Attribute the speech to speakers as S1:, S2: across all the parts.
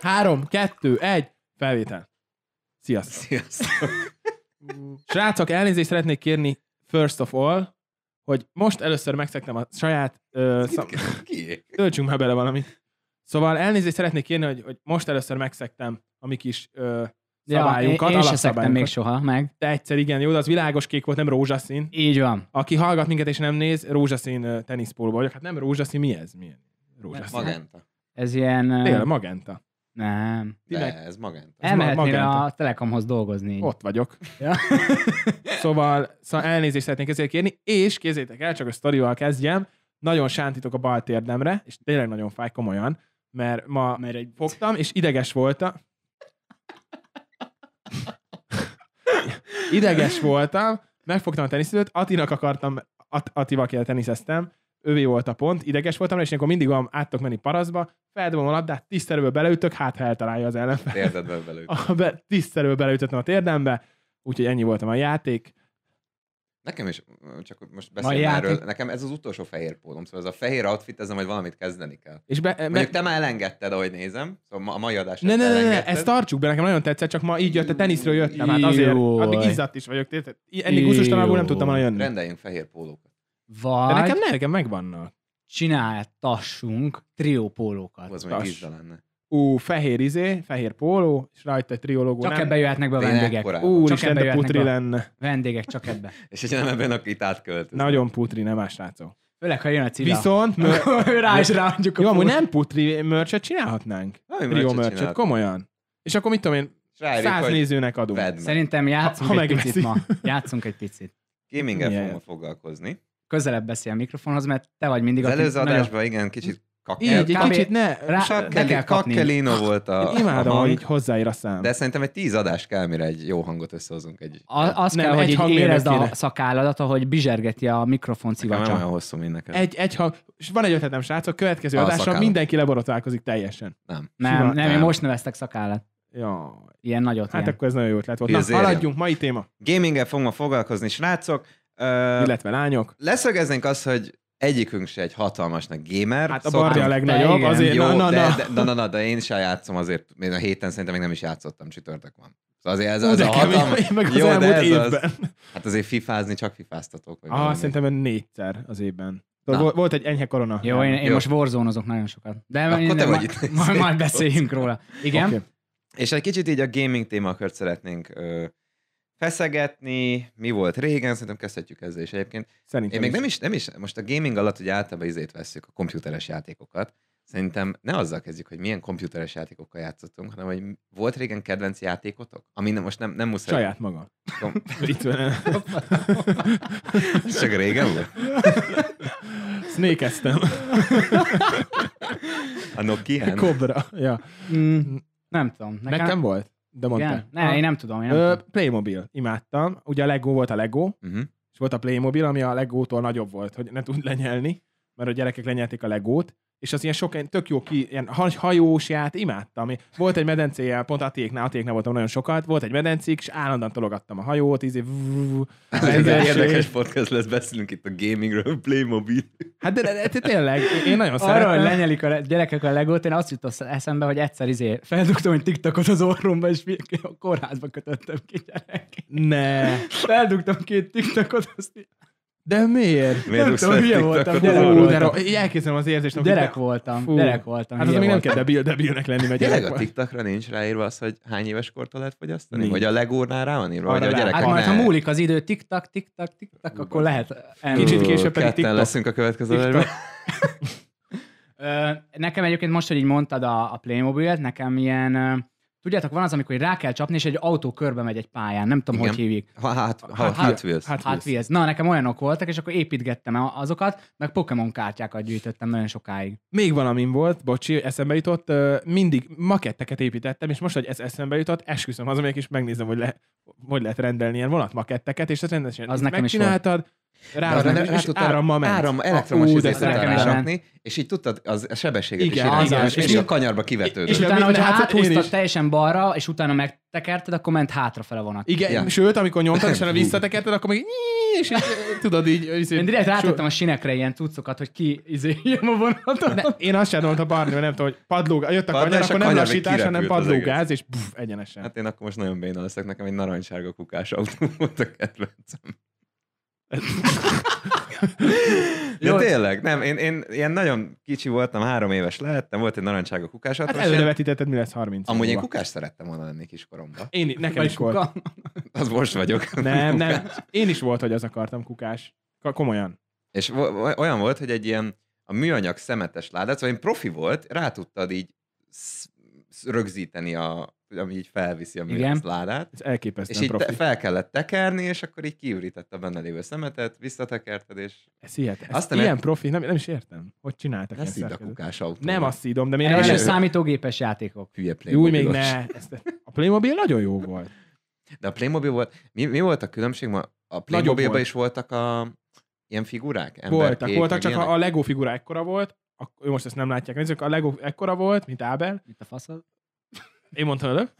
S1: Három, kettő, egy, felvétel. Sziasztok.
S2: Sziasztok.
S1: Srácok, elnézést szeretnék kérni first of all, hogy most először megszektem a saját... Ö, szam...
S2: Ki?
S1: Töltsünk már bele valamit. Szóval elnézést szeretnék kérni, hogy, hogy most először megszektem a mi kis ö, szabályunkat,
S3: én, én se szektem
S1: alapszabályunkat.
S3: még soha meg.
S1: De egyszer igen, jó, de az világos kék volt, nem rózsaszín.
S3: Így van.
S1: Aki hallgat minket és nem néz, rózsaszín ö, teniszpólóba vagyok. Hát nem rózsaszín, mi ez? Milyen rózsaszín?
S2: Magenta.
S3: Ez ilyen... ö,
S1: Tényleg, magenta.
S3: Nem.
S1: Ti meg-
S2: De, ez magenta.
S1: Ez ma-
S3: Elmehetnél
S1: magenta.
S3: a Telekomhoz dolgozni.
S1: Ott vagyok.
S3: Ja.
S1: szóval, szóval elnézést szeretnék ezért kérni, és kézzétek el, csak a sztorival kezdjem. Nagyon sántítok a bal térdemre, és tényleg nagyon fáj komolyan, mert ma mert egy... fogtam, és ideges voltam. ideges voltam, megfogtam a teniszidőt, Atinak akartam, At- Atival kell teniszeztem, ővé volt a pont, ideges voltam, és ilyenkor mindig van, át tudok menni paraszba, feldobom a labdát, tisztelőből beleütök, hát ha eltalálja az ellenfél
S2: Térdedbe belül.
S1: a be, tisztelő beleütöttem a térdembe, úgyhogy ennyi voltam a játék.
S2: Nekem is, csak most beszélj
S3: játék-
S2: erről, nekem ez az utolsó fehér pólom, szóval ez a fehér outfit, ezzel majd valamit kezdeni kell.
S1: És be,
S2: Mondjuk
S1: be,
S2: te már elengedted, ahogy nézem, szóval ma- a mai adás
S1: ne, ne, ne, ne,
S2: elengedted.
S1: ezt tartsuk be, nekem nagyon tetszett, csak ma így jött, a teniszről jöttem, hát azért,
S3: Jó.
S1: addig izzadt is vagyok, tényleg. Ennél gusztustalanul nem tudtam volna jönni.
S2: Rendeljünk fehér pólókat.
S1: De
S3: Vagy
S1: nekem, ne, nekem megvannak.
S3: csináltassunk triópólókat.
S2: Hú, Az
S3: Csak
S2: mondjuk
S1: Tas.
S2: izza lenne.
S1: Ú, fehér izé, fehér póló, és rajta egy triológó, nem?
S3: ebbe jöhetnek be a
S2: Tényleg
S3: vendégek.
S2: korán.
S1: Úr,
S3: csak
S1: is
S3: ebbe
S1: de
S3: jöhetnek
S1: putri
S3: a-
S1: lenne.
S3: Vendégek csak ebbe.
S2: És hogyha nem ebben a kitát költöz.
S1: Nagyon putri, nem más rácó.
S3: Főleg, ha jön a cida.
S1: Viszont, mör...
S3: rá is ráadjuk a
S1: jó, amúgy
S3: pólót.
S1: nem putri mörcset csinálhatnánk.
S2: Valami
S1: Trio
S2: mörcsöt
S1: mörcset,
S2: csinált.
S1: komolyan. És akkor mit tudom én,
S2: És rájövök,
S1: száz
S2: hogy
S1: nézőnek adunk.
S2: vedd meg.
S3: Szerintem játszunk
S1: Ha- ha
S3: egy picit ma.
S1: megveszi.
S3: Játszunk egy picit.
S2: Gaminggel
S1: Milyen?
S2: fogunk ma foglalkozni.
S3: Közelebb beszél a mikrofonhoz, mert te vagy mindig
S2: Az
S3: aki
S2: előző
S3: nagyon-
S2: adásban igen, kicsit
S1: Így, egy
S3: Kb.
S1: kicsit ne.
S3: Rá- le
S2: Kakkelino
S3: kell kapni.
S2: kakkelino volt a
S1: Én imádom,
S2: a
S1: hogy
S2: hang,
S1: így hozzáír a szám.
S2: De szerintem egy tíz adás kell, mire egy jó hangot összehozunk egy...
S3: A, az
S1: Nem,
S3: nem, kell,
S1: egy
S3: hogy így
S1: hangmérnök
S3: érezd
S1: kéne.
S3: a szakálladat, ahogy bizsergeti a mikrofon
S2: Nekem nem
S3: szivacsa.
S2: olyan hosszú, mint neked.
S1: Egy, egy hang, és van egy ötletem, srácok, következő
S2: A
S1: adásra
S2: szakállam.
S1: mindenki leborotválkozik teljesen.
S2: Nem.
S3: Nem, nem, én
S2: Nem.
S3: most neveztek szakállat.
S1: Ja,
S3: Ilyen nagyot,
S1: hát
S3: ilyen.
S1: akkor ez nagyon jó ötlet volt. Na,
S2: Bizérjem.
S1: haladjunk, mai téma,
S2: Gaminggel fogunk ma foglalkozni, srácok. Ö,
S1: illetve lányok.
S2: leszögeznénk azt, hogy egyikünk se egy hatalmasnak gamer.
S1: Hát a
S2: szoktunk-
S1: barja a legnagyobb,
S3: igen.
S1: azért
S2: Jó,
S1: na, na,
S2: de,
S1: na.
S2: De, na, na, na, de én is játszom azért, én a héten szerintem még nem is játszottam, csütörtök van. Szóval azért ez,
S1: Ú,
S2: ez
S1: de
S2: a hatalmas...
S1: kemény, meg az
S2: Jó, de
S1: elmúlt
S2: ez az.
S1: évben.
S2: Hát azért fifázni csak fifáztatok. vagy
S1: Ah,
S2: valami.
S1: szerintem négyszer az évben.
S2: Na.
S1: Vol- Volt egy enyhe korona.
S3: Jó, én, én
S2: Jó.
S3: most warzone nagyon sokat. De
S2: Akkor
S3: én-
S2: te
S3: ma-
S2: vagy itt.
S3: Majd, majd beszéljünk róla. Igen?
S1: Oké.
S2: És egy kicsit így a gaming témakört szeretnénk ö, feszegetni, mi volt régen, szerintem kezdhetjük ezzel is egyébként.
S1: Szerintem
S2: Én még nem is, nem is, most a gaming alatt ugye általában izét vesszük, a komputeres játékokat. Szerintem ne azzal kezdjük, hogy milyen komputeres játékokkal játszottunk, hanem hogy volt régen kedvenc játékotok? Ami nem, most nem, nem muszáj.
S1: Saját maga.
S2: Kom-
S1: Viccben.
S2: Ez Csak régen volt?
S1: Snékeztem.
S2: A Nokia?
S1: Kobra. Ja.
S3: Mm, nem tudom. Nekem,
S1: Nekem volt? De mondtál.
S3: igen? Ne, én nem tudom. Én nem
S1: Ö,
S3: tudom.
S1: Playmobil. Imádtam. Ugye a Lego volt a Lego.
S2: Uh-huh.
S1: és volt a Playmobil, ami a Legótól nagyobb volt, hogy ne tud lenyelni, mert a gyerekek lenyelték a Legót, és az ilyen sok, ilyen tök jó ki, ilyen ha- hajós ját, imádtam. Volt egy medencéje, pont Atiéknál, Atiéknál voltam nagyon sokat, volt egy medencék, és állandóan tologattam a hajót, ízé,
S2: Ez egy érdekes podcast lesz, beszélünk itt a gamingről, Playmobil.
S1: Hát de, de, de, tényleg, én nagyon
S3: Arra, hogy
S1: szeretem.
S3: lenyelik a le- gyerekek a legót, én azt jutott eszembe, hogy egyszer izé feldugtam egy TikTokot az orromba, és mi- a kórházba kötöttem ki gyerek.
S1: Ne.
S3: Feldugtam két TikTokot, azt így-
S1: De miért?
S2: Miért
S3: Nem
S2: rúgsz
S3: tudom,
S2: fel
S3: hülye
S2: TikTokot
S3: voltam,
S2: az
S3: gyerek
S2: orrodra?
S1: Ó,
S3: voltam.
S1: de ro- én elképzelem az érzést. amikor-
S3: Gyerek voltam,
S1: Fú.
S3: gyerek voltam.
S1: Hát az
S3: hülye
S1: még nem kell
S3: voltam.
S1: debil, debilnek lenni, mert
S2: Tényleg
S1: gyerek
S2: a
S1: volt.
S2: TikTokra nincs ráírva az, hogy hány éves kortól lehet fogyasztani?
S1: Nincs.
S2: Vagy a legórnál rá van írva?
S1: Arra
S2: Vagy a
S1: rá.
S2: gyerekek?
S3: Hát majd, ha
S2: ne.
S3: múlik az idő, tiktak, tiktak, tiktak, akkor lehet. elmenni.
S1: Kicsit
S2: Ú,
S1: később pedig
S2: ketten
S1: TikTok.
S2: leszünk a következő
S1: TikTok.
S2: adásban.
S3: Ö, Nekem egyébként most, hogy így mondtad a, a Playmobilet, nekem ilyen, ö, tudjátok, van az, amikor így rá kell csapni, és egy autó körbe megy egy pályán, nem tudom,
S2: Igen.
S3: hogy hívjuk.
S2: Ha, hát, ha,
S1: Hát,
S2: hát, hát, Wheels.
S1: hát,
S3: Hát Wheels. Na, nekem olyanok voltak, és akkor építgettem a- azokat, meg Pokémon kártyákat gyűjtöttem nagyon sokáig.
S1: Még valamin volt, bocsi, eszembe jutott, ö, mindig maketteket építettem, és most, hogy ez eszembe jutott, esküszöm hazamegyek, és megnézem, hogy, le, hogy lehet rendelni ilyen vonatmaketteket, és ezt rendesen
S3: Az
S1: így
S3: nekem is
S1: megcsináltad, Rá, rá, rá, rá és
S2: tudtad-
S1: árammal ment.
S2: Áram,
S1: Ú,
S2: elektromos
S1: de
S2: izét
S1: ez
S2: tudtál
S3: nekem is
S2: rárakni, és így tudtad az, a sebességet
S1: Igen,
S2: is irányítani,
S1: az-
S2: és mindig
S1: és-
S2: a kanyarba
S1: És
S3: És
S2: kivetődött.
S3: utána,
S1: minden-
S3: hogyha
S1: hát én
S3: áthúztad
S1: is.
S3: teljesen balra, és utána megtekerted, akkor ment hátrafele a vonat.
S1: Igen,
S2: Ja.
S1: ja. sőt, amikor nyomtad, és utána
S2: Hú.
S1: visszatekerted, akkor még nyí, és így, tudod így... így
S3: Én direkt rátettem a sinekre ilyen cuccokat, hogy ki izé, jön a vonaton.
S1: Ne, én azt sem mondtam Barni, mert nem tudom, hogy padlógáz, jött a
S2: Padlás,
S1: kanyar,
S2: a
S1: akkor nem
S2: kanyar még
S1: lassítás, hanem
S2: kirepült az
S1: padlógáz, és puf, egyenesen.
S2: Hát én akkor most nagyon béna leszek, nekem egy narancssárga kukás autó volt a kedvencem. De
S3: Jó.
S2: tényleg, nem, én, én ilyen nagyon kicsi voltam, három éves lehettem, volt egy narancssárga kukás autó.
S1: Hát
S2: és én-
S1: előrevetítetted, mi lesz 30
S2: Amúgy én
S1: múlva.
S2: kukás szerettem volna lenni kiskoromban.
S1: Én, i- nekem
S3: Vagy
S1: is volt.
S3: kuka.
S2: Az most vagyok.
S1: Nem, nem. Én is volt, hogy az akartam kukás. Ka- Komolyan.
S2: És vo- vo- olyan volt, hogy egy ilyen a műanyag szemetes ládát, szóval én profi volt, rá tudtad így sz- sz- rögzíteni, a, ami így felviszi a
S3: Igen.
S2: műanyag ládát.
S1: Ez
S2: És
S1: elképesztően
S2: így te,
S1: profi.
S2: fel kellett tekerni, és akkor így kiürítette a benne lévő szemetet, visszatekerted, és
S1: Ez hihetetlen. Ez
S2: Azt nem
S1: ilyen
S2: ért-
S1: profi, nem, nem is értem, hogy csináltak ilyen
S2: lesz így a
S1: szerkezetet.
S2: kukás autó.
S1: Nem azt szídom, de miért
S3: Első
S2: Elő-
S3: számítógépes játékok.
S2: Hülye
S1: Jó, még
S2: Playmobilos.
S1: ne. Ezt, a Playmobil nagyon jó volt.
S2: De a Playmobil volt, mi, mi volt a különbség? Ma a Playmobilban
S1: volt.
S2: is voltak a ilyen figurák?
S1: Voltak,
S2: Emberkék,
S1: voltak,
S2: meg
S1: csak
S2: ilyenek?
S1: a, a Lego figura ekkora volt, a, jó, most ezt nem látják, nézzük, a Lego ekkora volt, mint Ábel,
S3: Itt a faszod.
S1: én mondtam előbb,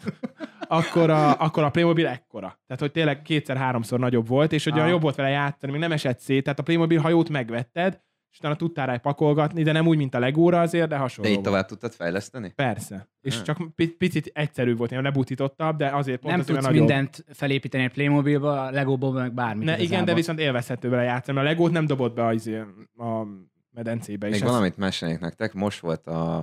S1: akkor a, akkor a Playmobil ekkora. Tehát, hogy tényleg kétszer-háromszor nagyobb volt, és ugye
S3: Ah.
S1: jobb volt vele játszani, még nem esett szét, tehát a Playmobil hajót megvetted, és utána tudtál rá pakolgatni, de nem úgy, mint a Legóra azért, de
S2: De
S1: hasonló
S2: így
S1: volt.
S2: tovább tudtad fejleszteni?
S1: Persze. És
S2: Hmm.
S1: csak pi- picit egyszerűbb volt, ilyen lebutítottabb, de azért pont
S3: Nem
S1: azért, mert
S3: tudsz
S1: nagyobb.
S3: mindent felépíteni egy Playmobilba, a Legóból, meg bármit.
S1: Ne, igen,
S3: igazából.
S1: de viszont élvezhető vele játszani, mert a Legót nem dobott be az, a medencébe.
S2: Még
S1: és
S2: valamit meséljék nektek, most volt a,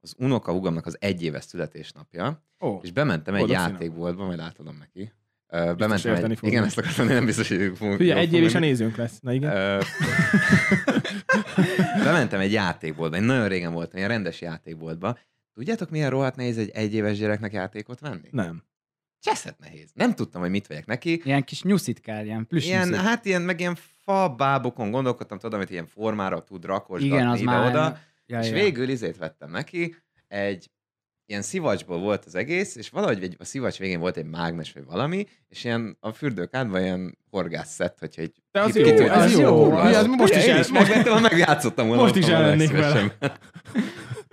S2: az unoka húgomnak az egyéves születésnapja,
S1: Ez... Ó,
S2: és bementem egy
S1: Boldog színem.
S2: játékboltba, majd átadom neki. Ö, Bementem
S1: érteni
S2: egy,
S1: fognak.
S2: igen, ezt akartam, nem biztos, hogy ők fogunk.
S1: Figyelj,
S2: jól
S1: egy év a
S2: fogni.
S1: nézőnk lesz. Na igen.
S2: Ö, Bementem egy játékboltba, én nagyon régen voltam, ilyen rendes játékboltba. Tudjátok, milyen rohadt nehéz egy egyéves gyereknek játékot venni?
S1: Nem.
S2: Cseszett nehéz. Nem tudtam, hogy mit vegyek neki.
S3: Ilyen kis nyuszit kell, ilyen plusz
S2: Ilyen,
S3: nyuszit.
S2: hát ilyen, meg ilyen fa bábokon gondolkodtam, tudom, amit ilyen formára tud rakosgatni
S3: Igen, az már...
S2: ide-oda.
S3: Ja,
S2: és
S3: ja.
S2: végül izét vettem neki, egy ilyen szivacsból volt az egész, és valahogy egy, a szivacs végén volt egy mágnes vagy valami, és ilyen a fürdőkádban ilyen horgászszett, hogyha egy...
S1: De az
S2: ki-
S1: jó,
S2: ki-
S1: az
S2: az
S1: jó.
S2: kurva,
S1: Mi
S2: az-
S1: az? Most
S2: Ugye,
S1: is
S2: én
S1: el-
S2: is
S1: most-
S2: megvettem, ha megjátszottam volna.
S1: Most
S2: otthon
S1: is ellennék vele.
S2: legszívesen.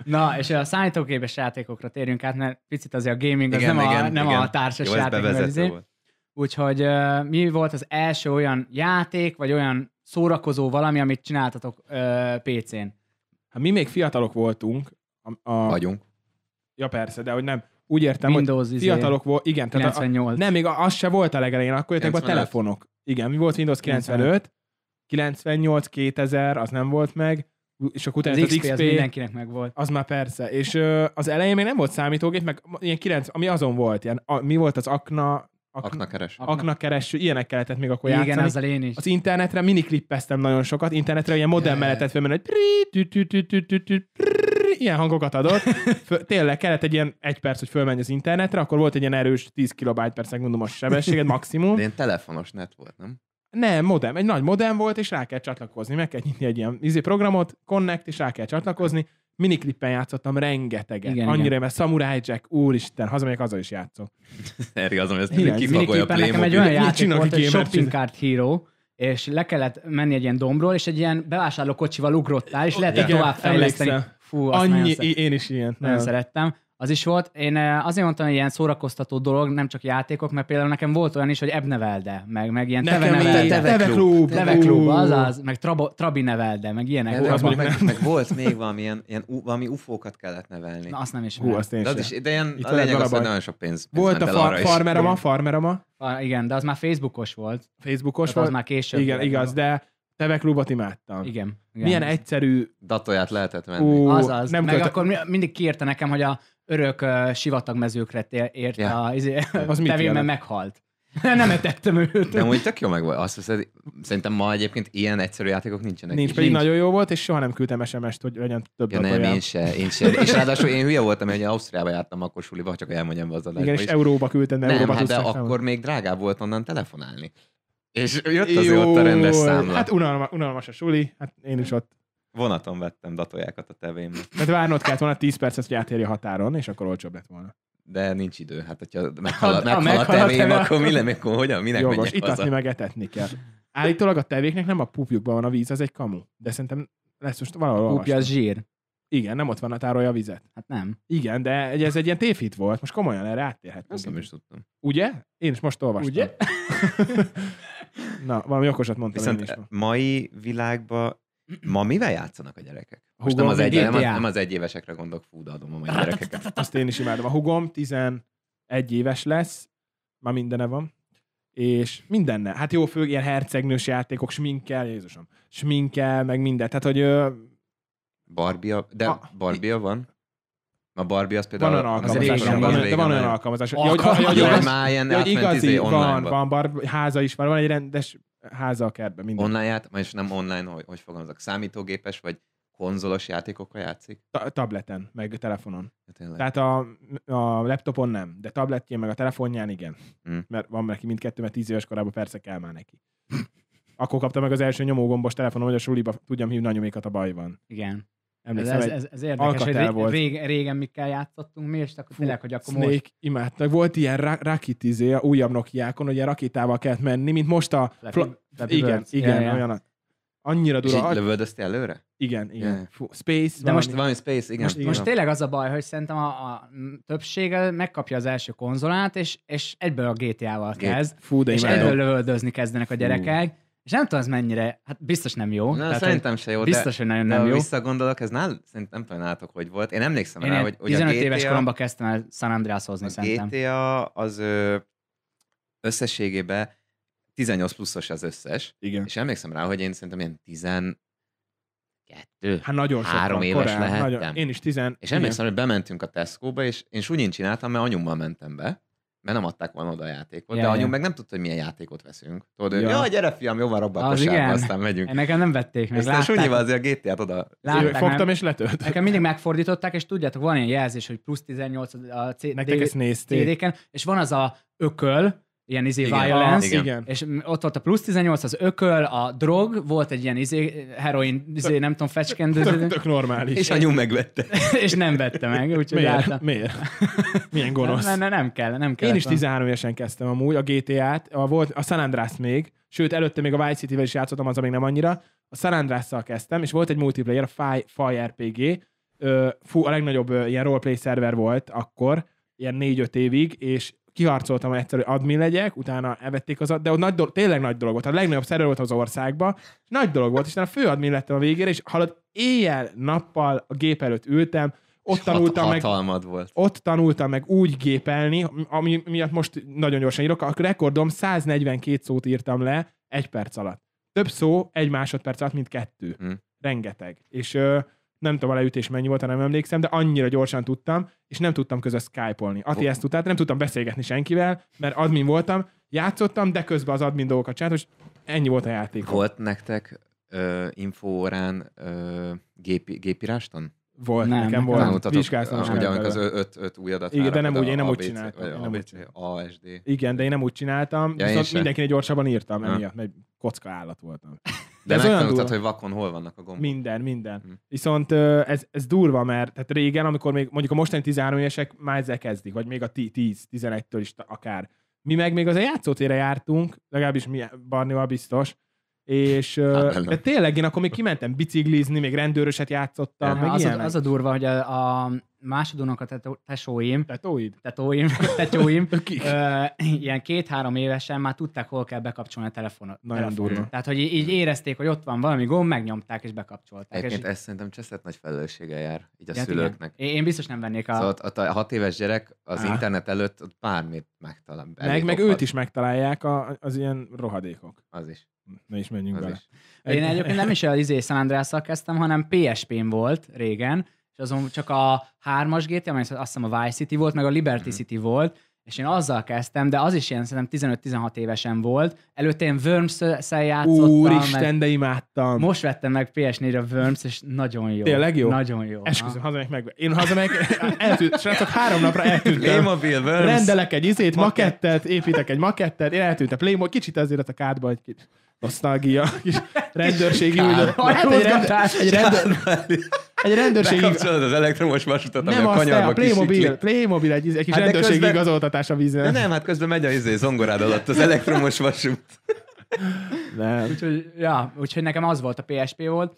S3: Na, és a számítógépes játékokra térjünk át, mert picit azért a gaming az
S2: Igen,
S3: nem, a,
S2: igen,
S3: nem
S2: igen.
S3: a társas
S2: Jó, ez
S3: játék. mert
S2: bevezető
S3: izé-
S2: volt.
S3: Úgyhogy ö, mi volt az első olyan játék, vagy olyan szórakozó valami, amit csináltatok ö, PC-n?
S1: Hát mi még fiatalok voltunk. A, a,
S2: Vagyunk.
S1: ja persze, de hogy nem. Úgy értem, hogy
S3: Windows izé,
S1: fiatalok volt. Igen, tehát a,
S3: 98.
S1: nem, még a- az se volt a legelején, akkor jöttek be a
S2: 95.
S1: telefonok. Igen, mi volt Windows 95, 98, 2000, az nem volt meg, és akkor utána
S3: az
S1: jött
S3: XP, az mindenkinek megvolt.
S1: Az már persze. És ö, az elején még nem volt számítógép, meg ilyen 9, ami azon volt, ilyen, a, mi volt az akna, akna,
S2: Akna keres.
S3: Ak-
S1: akna kereső, ilyenek lehetett még akkor
S3: Igen,
S1: játszani.
S3: ezzel én is.
S1: Az internetre miniklippeztem nagyon sokat, internetre ilyen modem
S2: Yeah.
S1: mellett fölmenni, hogy prrrr, tü- tü- tü- tü- tü- tü- prrrr, ilyen hangokat adott. Föl, tényleg kellett egy ilyen egy perc, hogy fölmenj az internetre, akkor volt egy ilyen erős 10 kB per szekundumos sebességed maximum.
S2: De ilyen telefonos net volt, nem?
S1: Nem, modem. Egy nagy modem volt, és rá kell csatlakozni. Meg kell nyitni egy ilyen izé programot, connect, és rá kell csatlakozni. Miniklippen játszottam rengeteget.
S3: Igen,
S1: Igen, Annyira,
S3: igen.
S1: igen. mert Samurai Jack, úristen, hazamegyek, azzal is játszok.
S2: Erre azon, hogy ezt
S1: Igen,
S2: mindig
S1: ez
S2: kipagolja a
S3: Mindenképpen nekem egy
S2: Playmobil.
S3: olyan
S1: Mit
S3: játék
S1: csinál,
S3: volt,
S1: aki
S3: hogy
S1: gamer
S3: Shopping
S1: csin-
S3: Card Hero, és le kellett menni egy ilyen dombról, és egy ilyen bevásárlókocsival ugrottál, és lehetett
S1: Igen,
S3: tovább fejleszteni.
S1: emlékszem.
S3: Fú, azt nagyon
S1: Annyi,
S3: szeret-
S1: én is ilyen.
S3: Nagyon
S1: Nem.
S3: szerettem. Az is volt. Én eh, azért mondtam, hogy ilyen szórakoztató dolog, nem csak játékok, mert például nekem volt olyan is, hogy Ebb nevelde, meg, meg ilyen Teve
S1: Nekem
S3: nevelde.
S1: így-
S2: Teve-
S1: Teveklub.
S3: Leveklub, azaz, meg trabo, Trabi nevelde, meg ilyenek.
S2: Nem,
S1: az
S2: meg,
S1: mondjuk
S2: meg,
S1: nem.
S2: meg volt még valami, ilyen, ilyen, u- valami ufókat kellett nevelni.
S3: Na, azt nem is.
S1: Hú, azt én
S2: De, az
S1: sem.
S2: is, de ilyen,
S1: Itt lehet
S2: a lényeg
S1: vele
S2: az, hogy
S1: baj.
S2: nagyon sok pénz, pénz
S1: Volt a
S2: ment el arra
S1: fa-
S2: is.
S1: farmerama, farmerama,
S3: ah, igen, de az már Facebookos volt.
S1: Facebookos
S3: Most Hát az
S1: volt.
S3: már később.
S1: Igen,
S3: volt.
S1: igaz, de teveklubot imádtam.
S3: Igen. igen.
S1: Milyen egyszerű,
S2: Datóját lehetett venni.
S1: ú,
S3: Azaz,
S1: nem
S3: nem meg
S1: költ-
S3: akkor mi- mindig kiírta nekem, hogy a örök uh, sivatagmezőkre tér- ért
S2: Ja.
S3: yeah. a, izé,
S1: Az mit
S3: tevén, mert
S1: jelent?
S3: meghalt. nem etettem őt.
S2: De amúgy tök jó meg volt. Azt hiszed, szerintem ma egyébként ilyen egyszerű játékok nincsenek.
S1: Nincs,
S2: is.
S1: pedig
S3: nincs.
S1: nagyon jó volt, és soha nem küldtem SMS-t, hogy legyen több
S2: Ja,
S1: darab
S2: nem,
S1: olyan.
S2: én se, én se. És ráadásul én hülye voltam, hogy Ausztriába jártam akkor suliba, ha csak elmondjam be az adásba
S1: Igen, és
S2: is.
S1: euróba küldtem, de
S2: nem,
S1: euróba
S2: hát de
S1: tudsz számolni.
S2: akkor még drágább volt onnan telefonálni. És jött az ott a rendes
S1: Jól.
S2: számla.
S1: Hát unalma, unalmas a suli, hát én is ott.
S2: Vonaton vettem datójákat a tevémbe.
S1: Tehát várnod kellett volna 10 percet, hogy átérje a határon, és akkor olcsóbb lett volna.
S2: De nincs idő. Hát, hogyha meghal,
S3: Ha- ha
S2: meghal a
S3: meghal a
S2: tevém,
S3: teve-
S2: akkor mi le, akkor hogyan, minek
S1: Jogos,
S2: menjek
S1: itatni
S2: haza?
S1: meg etetni kell. Állítólag a tevéknek nem a pupjukban van a víz, az egy kamu. De szerintem lesz most valahol
S3: Púpja az
S1: olvastam.
S3: zsír.
S1: Igen, nem ott van a tárolja a vizet.
S3: Hát nem.
S1: Igen, de egy- ez egy ilyen tévhit volt. Most komolyan erre áttérhetünk.
S2: Azt nem is tudtam.
S1: Ugye? Én is most olvastam.
S3: Ugye?
S1: Na, valami okosat mondtam Viszont én is.
S2: Viszont mai világban ma mivel játszanak a gyerekek? Most
S1: Hugom,
S2: nem az, egy,
S3: GTA.
S2: nem, az, nem az egyévesekre gondolok, fú, de adom a
S1: Hát,
S2: mai gyerekeket.
S1: Azt én is imádom. A hugom 11 éves lesz, már mindene van, és mindenne. Hát jó, főleg ilyen hercegnős játékok, sminkel, Jézusom, sminkel, meg mindent. Tehát, hogy ö,
S2: Barbia, de
S1: A-
S2: Barbia van? A Barbie az
S1: Ah. van
S2: például...
S1: olyan
S2: az
S1: alkalmazás, van,
S2: régen volt,
S1: van, de
S2: régen
S1: van olyan
S2: nagyon-
S1: alkalmazás. Ja, hogy-
S3: Alkalmazás.
S1: hogy-
S2: Ja,
S1: hogy-
S2: hogy már ilyen
S1: hogy
S2: átment izé
S1: igazi, van,
S2: online
S1: van,
S2: van.
S1: bar, háza is van, van egy rendes háza a kertben, minden.
S2: Online ját, most nem online, hogy, hogy fogalmazok, számítógépes vagy konzolos játékokkal játszik?
S1: Ta- tableten, meg telefonon.
S2: Ja, Tényleg.
S1: Tehát a, a laptopon nem, de tabletjén, meg a telefonján igen.
S2: Mm.
S1: Mert van neki mindkettő, mert tíz éves korában persze kell már neki. Akkor kapta meg az első nyomógombos telefonom, hogy a suliba tudjam hívni anyumékat a bajban.
S3: Igen. Ez,
S1: Emlékszem,
S3: ez,
S1: ez,
S3: ez, ez érdekes, hogy
S1: alkatel
S3: ré,
S1: volt.
S3: rég, régen mikkel játszottunk mi, és akkor
S1: Fú,
S3: tényleg, hogy akkor
S1: Snake
S3: most
S1: imádtak. Volt ilyen ra- rakitizé, a újabb Nokiákon, hogy a rakétával kellett menni, mint most a...
S3: Flappy-
S1: Fla-
S3: Flappy
S1: igen,
S3: Birds. Ja,
S1: igen,
S3: ja.
S1: olyan. a- Annyira
S2: És
S1: dura.
S2: így
S1: agy-
S2: lövöldöztél előre?
S1: Igen, igen.
S2: Ja.
S1: Fú, space,
S3: De most
S2: Most valami space, igen.
S3: Most,
S1: Igen.
S3: most tényleg az a baj, hogy szerintem a, a többsége megkapja az első konzolát, és, és egyből a GTA-val
S2: Gét-
S3: kezd,
S1: Fú, de
S3: és
S1: imádom.
S3: egyből lövöldözni kezdenek a gyerekek, és nem tudom, ez mennyire, hát biztos nem jó.
S2: Na,
S3: hogy
S2: szerintem se jó,
S3: biztos,
S2: biztos,
S3: hogy nagyon
S2: de, nem
S3: nem
S2: de
S3: jó.
S2: jó. visszagondolok, ez nál, szerintem nem tudom nálatok, hogy volt. Én emlékszem
S3: Én
S2: rá, hogy, hogy a
S3: 15
S2: GTA,
S3: éves koromban kezdtem el San Andreas hozni,
S2: a
S3: szerintem.
S2: GTA az ö, összességében 18 pluszos az összes,
S1: Igen.
S2: és emlékszem rá, hogy én szerintem ilyen 12,
S1: Hát nagyon sok
S2: Három
S1: van,
S2: éves
S1: korán,
S2: lehettem.
S1: Nagyon, én is tizen...
S2: És
S1: igen.
S2: emlékszem, hogy bementünk a Tesco-ba, és én súnyin csináltam, mert anyummal mentem be, mert nem adták volna oda a játékot,
S3: Ja,
S2: de
S3: ja.
S2: anyum meg nem tudta, hogy milyen játékot veszünk. Tudod,
S1: Ja.
S2: ja. jaj, gyere fiam, jó van, robba a
S3: Az igen.
S2: kosárba, aztán megyünk.
S3: Nekem nem vették meg,
S2: Aztán súnyival
S3: látták.
S2: azért a GTA-t oda.
S1: Én
S3: látták
S1: Fogtam
S3: nem?
S1: és letölt.
S3: Nekem mindig megfordították, és tudjátok, van ilyen jelzés, hogy plusz 18 a C-
S1: Nektek
S3: D-
S1: ezt nézték.
S3: CD-ken, és van az a ököl, ilyen izé
S2: Igen.
S3: violence,
S1: Igen. igen.
S3: És m- ott volt a plusz 18, az ököl, a drog, volt egy ilyen izé, heroin, izé, nem tudom,
S1: Tök,
S3: fecskendő,
S1: tök normális.
S2: És anyum megvette.
S3: és nem vette meg, úgyhogy
S1: Miért?
S3: álltam.
S1: Miért? Milyen gonosz.
S3: Nem, nem, nem kell, nem kell.
S1: Én is 13 évesen kezdtem amúgy a GTA-t, a, volt, a San Andreas még, sőt előtte még a Vice City-vel is játszottam, az még nem annyira. A San Andreas-szal kezdtem, és volt egy multiplayer, a Fire, Fire RPG, ö, fú, a legnagyobb ö, ilyen roleplay szerver volt akkor, ilyen 4-5 évig, és kiharcoltam egyszer, hogy admin legyek, utána elvették az, ad- de ott nagy dolog, tényleg nagy dolog volt, a legnagyobb szerver volt az országban, és nagy dolog volt, és utána főadmin lettem a végére, és halad éjjel-nappal a gép előtt ültem, ott tanultam
S2: Hat-
S1: meg
S2: Hatalmad volt.
S1: ott tanultam meg úgy gépelni, ami miatt most nagyon gyorsan írok, a rekordom 142 szót írtam le egy perc alatt. Több szó egy másodperc alatt, mint kettő.
S2: Hm.
S1: Rengeteg. És ö, nem tudom a leütés mennyi volt, ha nem emlékszem, de annyira gyorsan tudtam, és nem tudtam közben skype-olni. Ati
S2: Ó.
S1: ezt tudta, de nem tudtam beszélgetni senkivel, mert admin voltam, játszottam, de közben az admin dolgokat csináltam, és ennyi volt a játék.
S2: Volt nektek ö, infóórán ö, gépi, gépíráston?
S1: Volt,
S3: Nem,
S1: nem, nekem
S3: nekem
S1: volt.
S2: Tanultatok,
S1: Vizsgáztam is
S2: ah, ugye, amikor az
S1: belőle.
S2: ö- öt, öt új adat.
S1: Igen, de nem
S2: rárakod,
S1: úgy,
S2: a
S1: én nem úgy
S2: ABC,
S1: csináltam,
S2: vagy
S1: én nem úgy
S2: ABC, ASD.
S1: Igen, de én nem úgy csináltam,
S2: Ja,
S1: ja,
S2: én
S1: viszont
S2: sem.
S1: mindenkinek gyorsabban írtam
S2: Ha.
S1: emiatt, mert egy kocka állat voltam.
S2: De
S1: ez olyan
S2: megtanultad,
S1: durva.
S2: hogy vakon hol vannak a gombok.
S1: Minden, minden.
S2: Hm.
S1: Viszont ö, ez, ez durva, mert tehát régen, amikor még mondjuk a mostani 13 évesek már ezzel kezdik, vagy még a 10-11-től is ta- akár. Mi meg még az a játszótére jártunk, legalábbis mi Barnival biztos, és
S2: Hát,
S1: ö,
S2: velem.
S1: de tényleg én akkor még kimentem biciklizni, még rendőröset játszottam, meg
S3: az,
S1: ilyenek.
S3: a, az a durva, hogy a, a másodonok a tetó- tesóim,
S1: Tetóid?
S3: tetóim, tetóim,
S1: Kik?
S3: ö, ilyen két-három évesen már tudták, hol kell bekapcsolni a telefonot.
S1: Nagyon
S3: telefont.
S1: durva.
S3: Tehát, hogy í- így érezték, hogy ott van valami gomb, megnyomták és bekapcsolták. És,
S2: Egyébként ez szerintem cseszett nagy felelőssége jár, így a
S3: Ja, hát
S2: szülőknek.
S3: igen. Én, én biztos nem vennék a...
S2: Szóval ott, ott a hat éves gyerek az
S1: Á.
S2: internet előtt ott bármit megtalál.
S1: Meg,
S2: elég
S1: meg
S2: okhat.
S1: őt is megtalálják a, az ilyen rohadékok.
S2: Az is.
S1: Na is menjünk
S2: Az
S1: bele.
S2: is.
S3: Én egyébként nem is az izé San Andreas-szal kezdtem, hanem PSP-n volt régen, és azon csak a hármas GTA, amely azt hiszem a Vice City volt, meg a Liberty
S2: Mhm.
S3: City volt, és én azzal kezdtem, de az is ilyen szerintem 15-16 évesen volt. Előtte én Worms-szel játszottam, meg
S1: Úristen, de imádtam.
S3: most vettem meg PS4-re a Worms, és nagyon jó.
S1: Tényleg jó?
S3: Nagyon jó.
S1: Esküszöm, hazamegyek meg. Én hazamegyek, eltűnt, srácok, három napra eltűntem.
S2: Playmobil, Worms.
S1: Rendelek egy izét, makettet, építek egy makettet, én eltűntem Playmobil, kicsit azért ott a kádba egy kis nosztalgia, kis rendőrségi
S2: Kár.
S1: üldözés. Hát egy, rende, egy, rendőr, egy rendőrségi
S2: Bekapcsolod az elektromos vasutat, ami
S1: nem
S2: a
S1: azt, de
S2: kanyarba
S1: a Playmobil,
S2: kisiklik.
S1: Playmobil egy, egy kis
S2: Hát de
S1: rendőrségi
S2: közben-
S1: igazoltatás a vízen.
S2: De nem, hát közben megy a izé zongorád alatt az elektromos vasút.
S1: Nem.
S3: Úgyhogy, ja, úgyhogy nekem az volt a PSP volt,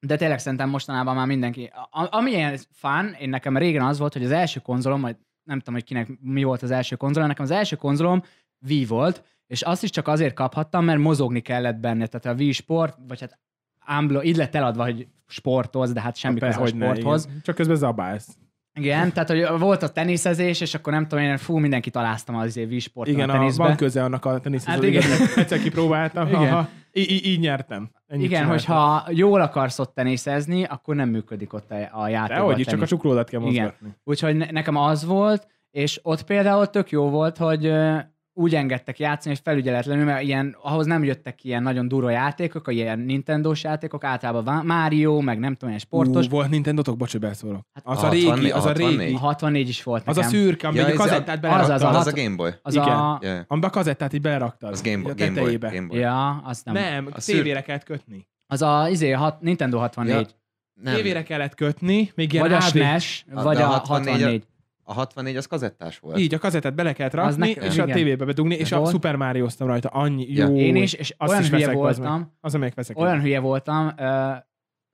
S3: de tényleg szerintem mostanában már mindenki... A, ami ilyen fán, én nekem régen az volt, hogy az első konzolom, vagy nem tudom, hogy kinek mi volt az első konzolom, nekem az első konzolom Wii volt, és azt is csak azért kaphattam, mert mozogni kellett benne, tehát a Wii sport, vagy hát ámbló, így lett eladva, hogy sportolsz, de hát semmi köze a
S1: Hogyne,
S3: sporthoz.
S1: igen. Csak közben zabálsz.
S3: Igen, tehát hogy volt a teniszezés, és akkor nem tudom én, fú, mindenkit taláztam az év sporton
S1: Igen,
S3: a
S1: a,
S3: teniszbe.
S1: van köze annak a teniszhez.
S3: Hát
S1: Hát
S3: igen.
S1: igen. Egyszer kipróbáltam,
S3: Igen.
S1: ha, így, így nyertem. Ennyit
S3: Igen,
S1: csináltam.
S3: hogyha jól akarsz ott teniszezni, akkor nem működik ott a, a játék.
S1: Dehogy, itt csak a csuklódat kell
S3: Igen.
S1: mozgatni.
S3: Úgyhogy ne, nekem az volt, és ott például tök jó volt, hogy ö, úgy engedtek játszani, hogy felügyeletlenül, mert ilyen, ahhoz nem jöttek ki ilyen nagyon durva játékok, a ilyen Nintendo-s játékok, általában Vá- Mario, meg nem tudom, ilyen sportos.
S1: Ú, volt Nintendotok, bocs, hogy beszólok.
S3: Hát
S1: Az a
S2: 64,
S1: régi, az a
S2: 64.
S3: A
S1: régi.
S3: 64 is volt
S1: Az a
S3: nekem.
S1: szürke, amit
S2: Ja,
S1: ja, a
S2: ez a-
S1: kazettát
S3: az
S2: Az,
S1: beleraktad.
S2: az,
S3: hat-
S2: a Game Boy.
S3: az
S1: igen.
S3: a...
S2: Yeah.
S1: Amiben a kazettát így beleraktad.
S2: Az Game Boy.
S1: Így a
S2: Game Boy.
S1: tetejébe.
S2: Game Boy.
S3: Ja, azt nem.
S1: Nem,
S2: A szürke.
S1: tévére kellett kötni.
S3: Az a izé, hat, Nintendo 64.
S2: Nem.
S1: Tévére kellett kötni, még ilyen
S3: vagy a
S1: AV.
S3: SNES,
S2: A-
S3: vagy
S2: de
S3: a
S2: a 64
S3: 64.
S2: A 64 az kazettás volt.
S1: Így, a kazettát bele kellett
S3: Az
S1: rakni,
S3: nekem-
S1: és a
S3: igen.
S1: tévébe bedugni, és a
S3: Volt.
S1: Super mario rajta. Annyi
S2: Ja.
S1: jó.
S3: Én is, és
S1: Azt
S3: olyan
S1: is
S3: hülye
S1: veszek, bazd meg.
S3: voltam,
S1: Az, amelyik veszek.
S3: olyan hülye voltam, ö,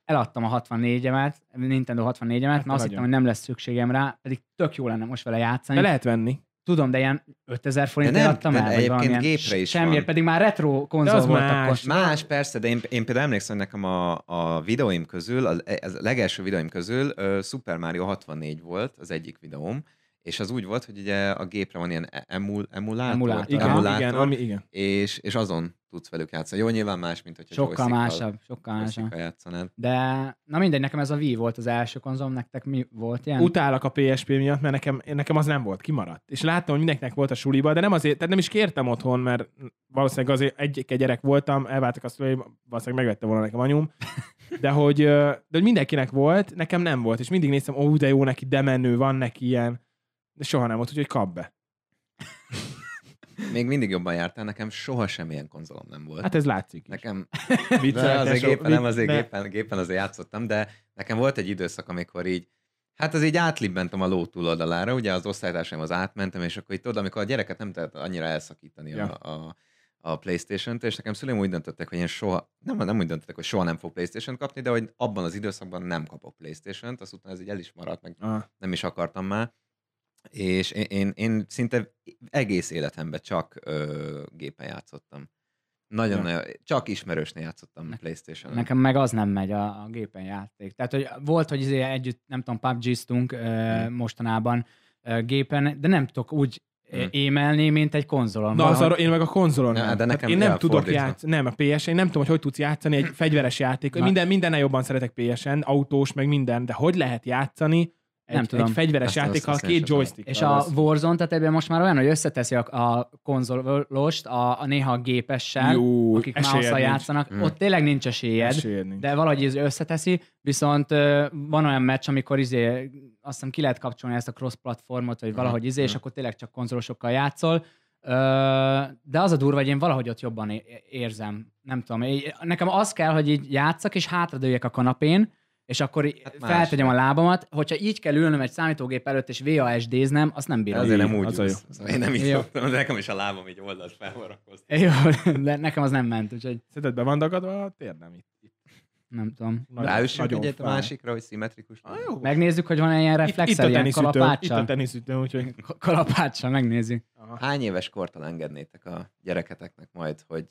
S3: eladtam a 64-emet, Nintendo 64-emet,
S2: Hát
S3: mert azt
S1: nagyon.
S3: hittem, hogy nem lesz szükségem rá, pedig tök jó lenne most vele játszani.
S1: De lehet venni.
S3: Tudom, de ilyen 5000 forint
S2: nem,
S3: eladtam
S2: de
S3: el, vagy
S2: egyébként
S3: valamilyen.
S2: gépre is
S3: Semmiért,
S2: van.
S3: pedig már retro
S1: De
S3: konzol
S1: az
S3: volt
S1: más.
S3: akkor.
S2: Más, persze, de én, én például emlékszem, hogy nekem a, a videóim közül, az, az legelső videóim közül ö, Super Mario 64 volt az egyik videóm, és az úgy volt, hogy ugye a gépre van ilyen e- emul, emulátor,
S3: Emulátor.
S1: Igen,
S2: emulátor
S1: igen, ami, igen.
S2: és, és azon tudsz velük játszani. Jó, nyilván más, mint hogyha
S3: Sokkal
S2: joystickkal-
S3: másabb, sokkal másabb.
S2: joystickkal játszanád.
S3: De, na mindegy, nekem ez a Wii volt az első konzolom, nektek mi volt ilyen?
S1: Utálok a PSP miatt, mert nekem, én- nekem az nem volt, kimaradt. És láttam, hogy mindenkinek volt a suliba, de nem azért, tehát nem is kértem otthon, mert valószínűleg azért egy, egy gyerek voltam, elváltak a szüleim, valószínűleg megvette volna nekem anyum. De hogy, ö, de hogy mindenkinek volt, nekem nem volt, és mindig néztem, ó, de jó neki, de menő, van neki ilyen, de soha nem volt, úgyhogy kap be.
S2: Még mindig jobban jártál, nekem soha semmilyen konzolom nem volt.
S1: Hát ez látszik. is.
S2: Nekem
S1: Viccelek,
S2: de azért
S1: tesó,
S2: gépen, nem azért
S1: ne.
S2: gépen, gépen azért játszottam, de nekem volt egy időszak, amikor így, hát az így átlibbentem a ló túloldalára, ugye az osztálytársaim az átmentem, és akkor itt tudod, amikor a gyereket nem tehet annyira elszakítani
S1: Ja.
S2: ja. a, a, a Playstation-t, és nekem szüleim úgy döntöttek, hogy én soha, nem, nem úgy döntöttek, hogy soha nem fog Playstation-t kapni, de hogy abban az időszakban nem kapok Playstation-t, azt utána ez így el is maradt, meg
S1: Ah.
S2: nem is akartam már, és én, én, én szinte egész életemben csak ö, gépen játszottam. Nagyon, ja. csak ismerősnél játszottam
S3: Ne-
S2: Playstation-on.
S3: Nekem meg az nem megy a, a gépen játék. Tehát, hogy volt, hogy izé együtt, nem tudom, PUBG-ztunk ö,
S1: Hmm.
S3: mostanában ö, gépen, de nem tudok úgy ö,
S2: Mm.
S3: émelni, mint egy konzolon.
S1: Hmm. Na, az
S3: Valahogy-
S1: arra, én meg a konzolon
S2: Na,
S1: nem.
S2: de
S1: Tehát
S2: nekem
S1: én nem
S2: kell
S1: tudok
S2: fordítva.
S1: játszani, nem, a PS, én nem tudom, hogy hogy tudsz játszani egy fegyveres játék.
S3: Na.
S1: Minden, mindennel jobban szeretek PS-en, autós, meg minden, de hogy lehet játszani egy,
S3: Nem tudom.
S1: egy fegyveres
S2: Azt- azt-
S1: játékkal
S2: azt én sem
S1: két
S2: tudom.
S1: joystick
S3: És a Warzone, tehát ebben most már olyan, hogy összeteszi a, a konzolost, a, a néha a gépessel,
S1: jó, Hmm.
S3: akik mouse játszanak,
S2: Mm.
S3: ott tényleg nincs esélyed,
S1: De
S3: de valahogy ez összeteszi, viszont ö, van olyan meccs, amikor izé, azt hiszem ki lehet kapcsolni ezt a cross-platformot, vagy valahogy izé, és
S2: mhm.
S3: akkor tényleg csak konzolosokkal játszol, ö, de az a durva, hogy én valahogy ott jobban é- érzem, nem tudom, így- nekem az kell, hogy így játszak, és hátradőjek a kanapén, és akkor í-
S2: Hát más.
S3: feltegyem a lábamat, hogyha így kell ülnöm egy számítógép előtt, és VASD-znem, azt nem bírom.
S2: Azért nem úgy
S1: az
S2: az
S1: a jó.
S2: Én nem így
S3: Jó.
S2: szoktam, de nekem is a lábam így oldalt felvarakozt.
S3: Jó, de nekem az nem ment, úgyhogy
S1: Szerinted be van dagadva a térdem itt.
S3: nem tudom.
S1: Nagy-
S2: Ráüssünk egyet a
S1: fáj.
S2: másikra, hogy szimmetrikus.
S1: Ah, jó.
S3: Megnézzük, hogy van-e ilyen
S1: itt, itt a
S3: reflexel, ilyen
S1: teniszütő, itt a
S3: kalapáccsal.
S1: teniszütő, úgyhogy...
S3: Ka- Kalapáccsal, megnézzük.
S1: Aha.
S2: Hány éves kortól engednétek a gyereketeknek majd, hogy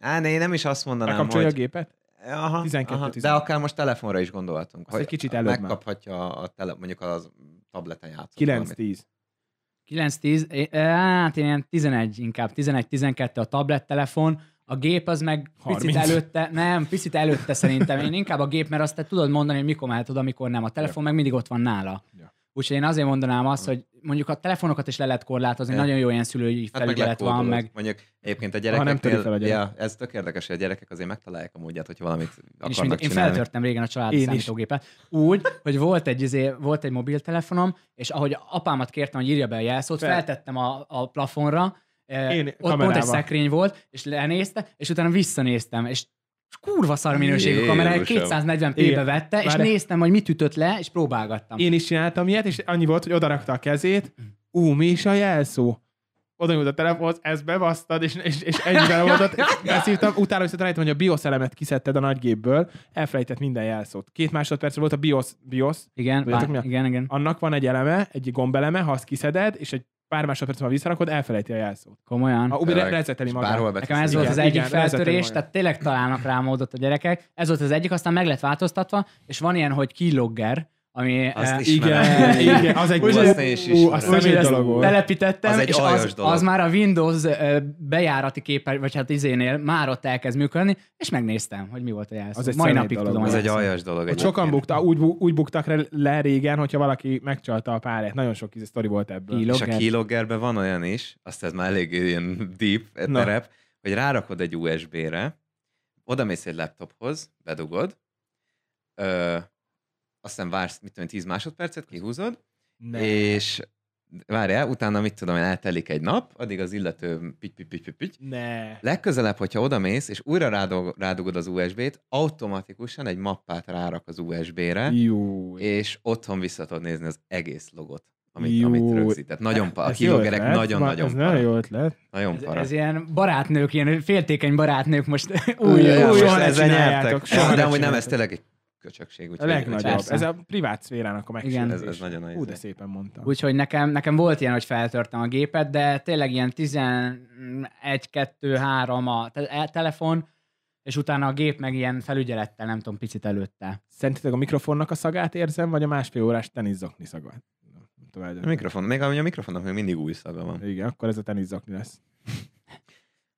S2: Á, ne, én nem is azt mondanám,
S1: Lekapcsolja a
S2: hogy...
S1: gépet?
S2: Aha,
S1: 12,
S2: aha, de
S1: 16.
S2: akár most telefonra is gondolhatunk.
S1: Azt egy kicsit előbb már.
S2: Megkaphatja a, a tele, mondjuk az tableten játszott. valamit.
S1: 9-10.
S3: 9-10, é- eh, hát én ilyen 11 inkább, 11-12 a tablettelefon, a gép az meg picit
S1: 30.
S3: előtte, nem, picit előtte szerintem. Én inkább a gép, mert azt te tudod mondani, hogy mikor mehet oda, mikor nem. A telefon meg mindig ott van nála.
S1: Ja.
S3: Úgyhogy én azért mondanám azt, hogy mondjuk a telefonokat is le lehet korlátozni,
S2: Ja.
S3: nagyon jó ilyen szülői
S2: Hát meg
S3: felügyelet van,
S2: lekódolod.
S3: meg
S2: Mondjuk egyébként a
S1: Ha
S2: gyerekeknél...
S1: nem töri fel a gyerek.
S2: ja, ez tök érdekes, hogy a gyerekek azért megtalálják a módját, hogy valamit
S3: Én, is
S2: akarnak
S3: mind, én
S2: csinálni.
S3: feltörtem régen a családi
S1: Én is.
S3: számítógépet. Úgy, hogy volt egy, izé, volt egy mobiltelefonom, és ahogy apámat kértem, hogy írja be a jelszót,
S1: Fel-
S3: feltettem a, a plafonra, én
S1: Én
S3: ott pont egy
S1: kamerával.
S3: szekrény volt, és lenézte, és utána visszanéztem, és kurva szar minőségű
S2: Jézusom.
S3: kamera, 240p-be
S1: Igen.
S3: vette, és
S1: Várj.
S3: néztem, hogy mit ütött le, és próbálgattam.
S1: Én is csináltam ilyet, és annyi volt, hogy odarakta a kezét, ú, mi is a jelszó? oda nyújt a telefonhoz, ezt bebasztad, és, és, és ennyivel volt. Beszívtam, utána viszont rájöttem, hogy a BIOS elemet kiszedted a nagygépből, elfelejtett minden jelszót. Két másodperc volt a BIOS, BIOS,
S3: Igen,
S1: Tudjátok, mi a-
S3: bár, igen, igen.
S1: annak van egy eleme, egy gombeleme, ha azt kiszeded, és egy pár másodperc múlva visszarakod, elfelejti a jelszót.
S3: Komolyan.
S1: A Ubi re- rezeteli magát.
S2: Bárhol
S3: Nekem ez
S2: beteszik.
S3: volt
S1: Igen,
S3: az egyik
S1: igen, lehetetlen
S3: feltörés,
S1: maga.
S3: tehát tényleg találnak rá módot a gyerekek. Ez volt az egyik, aztán meg lett változtatva, és van ilyen, hogy keylogger, ami
S2: Azt
S3: eh,
S2: is
S1: Igen,
S2: Ismerem.
S1: igen, az egy
S2: Úgy,
S1: az,
S2: azt én is ismerem.
S1: az
S2: Úgy,
S1: személy
S3: ezt
S1: dolog volt.
S3: telepítettem,
S2: Az egy
S3: és
S2: aljas
S3: az,
S2: dolog.
S3: az már a Windows eh, bejárati képer, vagy hát izénél már ott elkezd működni, és megnéztem, hogy mi volt a jelszó.
S1: Az egy
S3: Mai
S1: szemét
S3: napig
S1: dolog.
S3: tudom. a
S2: Az egy
S3: jelszót.
S2: aljas dolog.
S1: Hogy sokan bukta, úgy, bu- úgy buktak re- le régen, hogyha valaki megcsalta a párját. Nagyon sok ízű sztori volt ebből.
S3: Így.
S2: És a
S3: Keylogger.
S2: keyloggerben van olyan is, azt ez már elég ilyen deep
S1: Na.
S2: terep, hogy rárakod egy USB-re, oda mész egy laptophoz, bedugod, ö, azt hiszem vársz, mit tudom, én, 10 másodpercet, kihúzod,
S1: Ne.
S2: és várjál, utána mit tudom én, eltelik egy nap, addig az illető pitty, pitty, pitty, pitty,
S1: ne.
S2: Legközelebb, hogyha odamész, és újra rádog- rádugod az USB-t, automatikusan egy mappát rárak az USB-re,
S1: Jó.
S2: és otthon vissza tudod nézni az egész logot, amit,
S1: Jó.
S2: amit rögzített. Nagyon pa, a kilogerek nagyon-nagyon
S1: Ez nagyon
S2: para.
S1: jó ötlet.
S2: Nagyon
S3: Ez,
S2: para.
S3: ez ilyen barátnők, ilyen féltékeny barátnők most új.
S1: Új,
S2: Jaj,
S1: új,
S2: most
S1: soha ne
S2: ezzel
S1: csináljátok,
S2: nyertek.
S1: soha
S2: Ez-
S1: ne
S2: De amúgy nem,
S1: csináljátok.
S2: ez tényleg egy köcsökség. Úgyhogy,
S1: A legnagyobb.
S3: Persze.
S1: Ez a privát szférának a megsértés.
S2: Ez- ez nagyon nagy
S1: Hú, de
S2: izé.
S1: szépen mondtam.
S3: Úgyhogy nekem, nekem volt ilyen, hogy feltörtem a gépet, de tényleg ilyen 11, 2, 3 a te- e- telefon, és utána a gép meg ilyen felügyelettel, nem tudom, picit előtte.
S1: Szerintetek a mikrofonnak a szagát érzem, vagy a másfél órás teniszokni szagát? Nem tudom,
S2: A
S1: eldöntöm.
S2: mikrofon, még ami a mikrofonnak még mindig új szaga van.
S1: Igen, akkor ez a teniszokni lesz.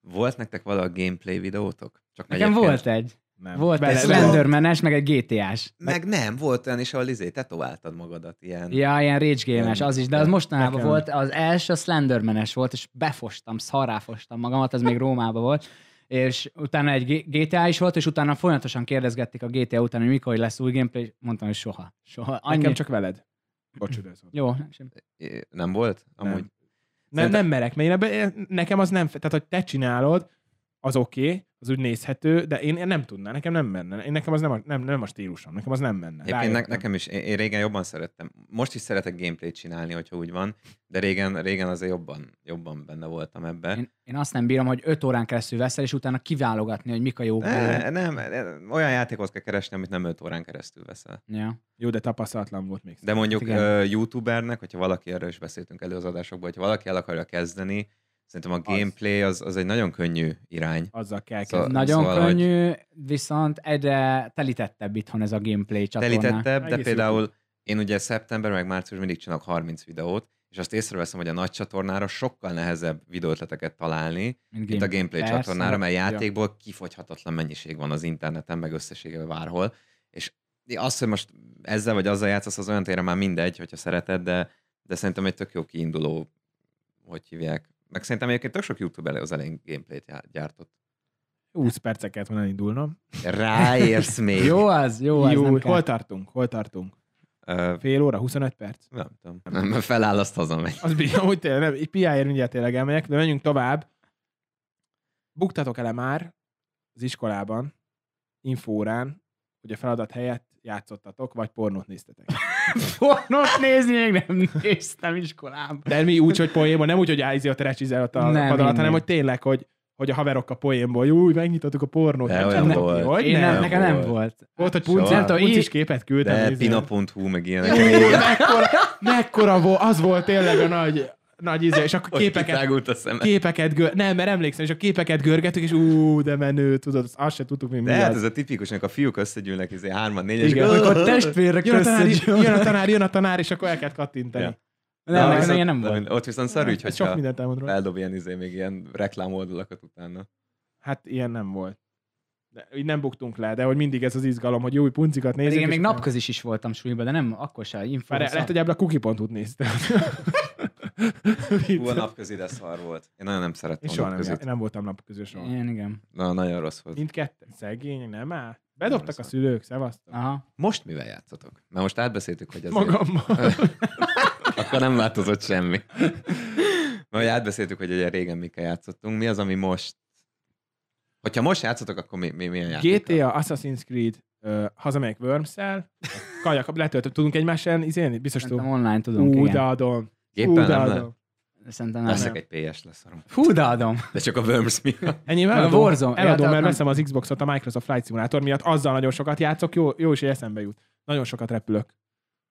S2: Volt nektek vala a gameplay videótok? Csak
S3: Nekem
S2: egyébként-
S3: volt egy.
S1: Nem.
S3: Volt egy Slendermanes, meg egy GTA-s.
S2: Meg nem, volt olyan is, ahol izé, tetováltad magadat ilyen.
S3: Ja, ilyen Rage Game-es, az is, de az mostanában
S1: Nekem-
S3: volt, az első Slendermanes volt, és befostam, szaráfostam magamat, az még Rómában volt, és utána egy G- GTA is volt, és utána folyamatosan kérdezgették a GTA után, hogy mikor lesz új gameplay, és mondtam, hogy soha. Soha. Annyi.
S1: Nekem csak veled. Bocsodás.
S3: Jó, nem sem.
S2: É, Nem volt? Amúgy.
S1: Nem. Nem, nem merek, mert én ebbe, nekem az nem, fe- tehát hogy te csinálod, az oké, okay, az úgy nézhető, de én, én nem tudnám, nekem nem menne. Én, nekem az nem a, nem, nem a stílusom, nekem az nem menne.
S2: Egyébként ne,
S1: Rájöttem.
S2: nekem is, én, én régen jobban szerettem. Most is szeretek gameplayt csinálni, hogyha úgy van, de régen, régen azért jobban, jobban benne voltam ebbe.
S3: Én, én azt nem bírom, hogy 5 órán keresztül veszel, és utána kiválogatni, hogy mik a jók.
S2: Ne, nem, nem, olyan játékot kell keresni, amit nem 5 órán keresztül veszel.
S3: Ja.
S1: Jó, de tapasztalatlan volt még.
S2: De mondjuk
S3: Igen.
S2: ö, youtubernek, hogyha valaki erről is beszéltünk elő az adásokban, hogyha valaki el akarja kezdeni, szerintem a gameplay az, az egy nagyon könnyű irány.
S1: Azzal kell
S2: Szóval-
S1: kezdeni.
S3: Nagyon
S2: szóval, hogy-
S3: könnyű, viszont egyre telítettebb itthon ez a gameplay csatorna.
S2: Telítettebb, de
S1: Egész
S2: például én ugye szeptember meg március mindig csinálok 30 videót, és azt észreveszem, hogy a nagy csatornára sokkal nehezebb videótletet találni,
S3: mint
S2: Itt a gameplay
S3: Persze.
S2: csatornára, mert
S1: Ja.
S2: játékból kifogyhatatlan mennyiség van az interneten, meg összességében bárhol. És azt, hogy most ezzel vagy azzal játszasz, az olyan tényleg már mindegy, hogyha szereted, de, de szerintem egy tök jó kiinduló, hogy hívják. Meg szerintem egyébként tök sok youtuber az elején gameplayt já- gyártott.
S1: 20 perceket van elindulnom.
S2: Ráérsz még.
S3: Jó az, jó az,
S1: Jó,
S3: nem
S1: hol
S3: kell.
S1: tartunk? Hol tartunk?
S2: Ö,
S1: Fél óra, 25 perc?
S2: nem tudom. Nem, feláll, azt hazamegy.
S1: Az bírja, hogy tényleg, nem, egy piáért mindjárt tényleg elmegyek, de menjünk tovább. Buktatok ele már az iskolában, infórán, hogy a feladat helyett játszottatok, vagy pornót néztetek.
S3: Pornót nézni még nem néztem iskolában.
S1: De mi úgy, hogy poénból, nem úgy, hogy ájzi a terecsizel ott a
S3: Nem,
S1: pad alatt,
S3: mindig.
S1: hanem hogy tényleg, hogy, hogy a haverok a poénból, jó, úgy, megnyitottuk a pornót.
S2: De
S1: Nem
S2: olyan
S1: tudom,
S2: volt.
S1: Hogy
S3: Én nem,
S1: nem.
S2: nem
S3: nekem nem
S2: volt.
S3: volt.
S1: Volt, hogy
S2: Soha.
S1: punc, nem tudom,
S3: Punc-
S1: is képet küldtem.
S2: De
S1: izé.
S2: pina.hu meg ilyenek.
S1: mekkora, mekkora volt, az volt tényleg a nagy, nagy íze, és akkor
S2: Hogy
S1: képeket
S2: kitágult a szemem.
S1: képeket gör... Nem, mert emlékszem, és a képeket görgetük, és ú, de menő, tudod, azt- azt se tudtuk, mi, mi
S2: De hát ez
S1: az.
S2: a tipikus, amikor a fiúk összegyűlnek, izé, hárman, négyes,
S1: Igen.
S3: Amikor testvérek
S1: Jön a, tanár,
S3: összegyűlnek.
S1: jön a tanár, jön a tanár, és akkor el kell kattintani.
S2: Ja.
S3: Nem,
S2: Na,
S3: nekem
S2: viszont-
S3: ilyen nem
S2: na,
S3: volt.
S2: mind- Ott viszont szarügy,
S1: Hát Sok
S2: hogyha
S1: mindent elmondom.
S2: feldob ilyen, izé, még ilyen reklámoldalakat utána.
S1: Hát ilyen nem volt. De így nem buktunk le, de hogy mindig ez az izgalom, hogy új puncikat nézzük.
S3: Pedig én
S1: és
S3: még
S1: akkor-
S3: napközis is voltam súlyban, de nem akkor se. Info
S1: Már lehet, hogy ebből a kukipontút néztem.
S2: Hú, a napközi, de szar volt. Én nagyon nem szerettem
S1: Én
S2: a
S1: soha nem,
S2: napközit.
S1: jár- én nem voltam napközös soha.
S3: Igen, igen.
S2: Na, nagyon rossz volt.
S1: Mindketten szegény, nem áll? Bedobtak a
S2: Borzasztó.
S1: szülők, szevasztok.
S3: Aha.
S2: Most mivel játszotok? Mert most átbeszéltük, hogy azért
S1: Magammal.
S2: akkor nem változott semmi. Mert ugye átbeszéltük, hogy ugye régen mikkel játszottunk. Mi az, ami most... Hogyha most játszotok, akkor mi, mi milyen játék?
S1: GTA, Assassin's Creed, uh, hazamegyek Worms-el, kajak, letöltött, tudunk egymás ellen izélni? Biztos
S3: Szerintem
S1: tudunk.
S3: online tudunk,
S1: Ú, de
S3: igen.
S1: adom. Ú,
S2: Géppel
S1: de
S2: nem
S1: adom.
S2: lehet?
S3: Szerintem nem.
S2: Veszek egy PS leszarom.
S3: Hú, de adom.
S2: De csak a Worms miatt.
S1: Ennyivel
S3: A
S1: eladom,
S3: Warzone.
S1: eladom
S3: Ja,
S1: mert
S3: nem-
S1: veszem az Xboxot a Microsoft Flight Simulator miatt, azzal nagyon sokat játszok, jó, jó is, hogy eszembe jut. Nagyon sokat repülök.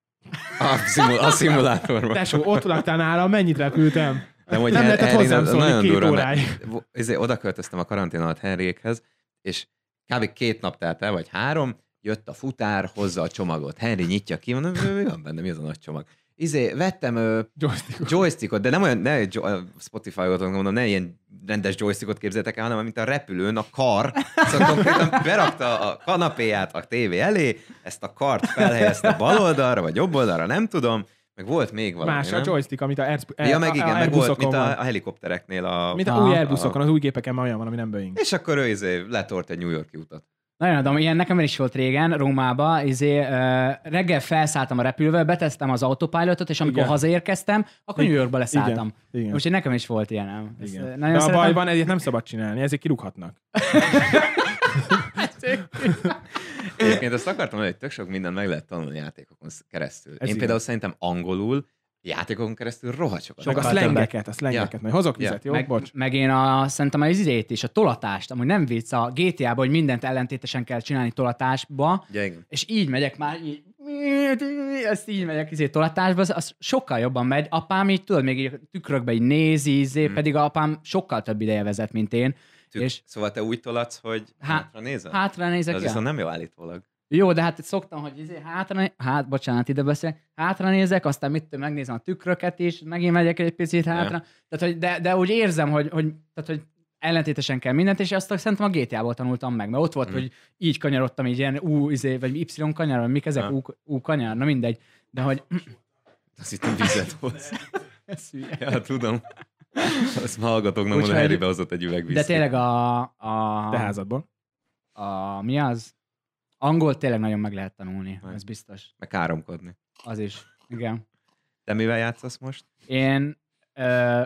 S2: A, szimul- a szimulátorban.
S1: Tesó, ott laktál nálam, mennyit repültem?
S2: De
S1: nem lehetett hozzám szólni két óráig.
S2: Ezért izé, oda költöztem a karantén alatt Henriékhez, és kb. két nap telt el, vagy három, jött a futár, hozza a csomagot. Henry nyitja ki, mondom, mi van benne, mi az a nagy csomag? Izé, vettem ö,
S1: Joystickot.
S2: joystickot, de nem olyan, ne egy jo- a Spotify-ot mondom, ne ilyen rendes joystickot képzeltek el, hanem mint a repülőn a kar. Szóval konkrétan berakta a kanapéját a tévé elé, ezt a kart felhelyezte bal oldalra, vagy jobb oldalra, nem tudom, meg volt még valami,
S1: Más a
S2: nem?
S1: joystick, amit a, Airsp-
S2: Ja, meg igen, meg volt, mint
S1: van.
S2: a, a helikoptereknél a...
S1: Mint a
S3: Aha.
S1: új Airbusokon, az új gépeken már olyan van, ami nem Boeing.
S2: És akkor ő izé letort egy New Yorki utat.
S3: Nagyon adom, ilyen nekem is volt régen, Rómába, izé, ö, reggel felszálltam a repülővel, beteztem az autopilotot, és amikor
S1: Igen.
S3: Igen. hazaérkeztem, akkor New Yorkba leszálltam.
S1: Igen, igen.
S3: Úgyhogy nekem is volt ilyen. Nem? Ezt,
S1: Igen.
S3: ö,
S1: De a
S3: Nagyon szeretem.
S1: bajban ezért nem szabad csinálni, ezért kirúghatnak.
S2: Egyébként azt akartam mondani, hogy tök sok mindent meg lehet tanulni játékokon sz- keresztül. Én
S1: Ez
S2: például
S1: igaz.
S2: szerintem angolul játékokon keresztül rohadt sokat.
S1: Meg a
S2: tanultam.
S1: szlengeket, a szlengeket.
S2: Ja.
S1: Majd hozok
S2: Ja.
S1: vizet, jó?
S3: meg,
S1: Bocs.
S3: meg én a, szerintem az idejét is, a tolatást, amúgy nem vicc, a GTA-ban, hogy mindent ellentétesen kell csinálni tolatásba,
S2: Ja, igen.
S3: és így megyek már, így, ezt így megyek izé tolatásba, az, az sokkal jobban megy. Apám így, tudod, még így a tükrökbe így nézi, izé, pedig apám sokkal több ideje vezet, mint én.
S2: Tük, és...
S3: És-
S2: Szóval te úgy tolatsz, hogy
S3: Há-
S2: hátra nézel?
S3: Hátra
S2: De
S3: nézek,
S2: az
S3: ja.
S2: viszont nem jó állítólag.
S3: Jó, de hát szoktam, hogy izé hátra, né- hát, bocsánat, ide beszélek, hátra nézek, aztán mit tudom, megnézem a tükröket is, megint megyek egy picit hátra.
S2: Ja.
S3: Ja. Tehát, hogy de, de, úgy érzem, hogy, hogy, tehát, hogy ellentétesen kell mindent, és azt szerintem a GTA-ból tanultam meg, mert ott volt,
S2: Mhm.
S3: hmm. hogy így kanyarodtam, így ilyen U, izé, vagy Y kanyar, vagy mik ezek,
S2: Ja.
S3: ja. U, U kanyar, na mindegy. De hogy,
S2: Azt hittem vizet hoz.
S3: ez hülye.
S2: ja, tudom. Azt ma hallgatóknak
S3: Úgyhogy-
S2: mondom, Harry behozott egy üveg
S3: de
S2: vizet.
S3: tényleg a, a,
S1: Te házadból.
S3: a, mi az? Angol tényleg nagyon meg lehet tanulni,
S2: Meg.
S3: ez biztos.
S2: Meg káromkodni.
S3: Az is, igen.
S2: Te mivel játszasz most?
S3: Én ö,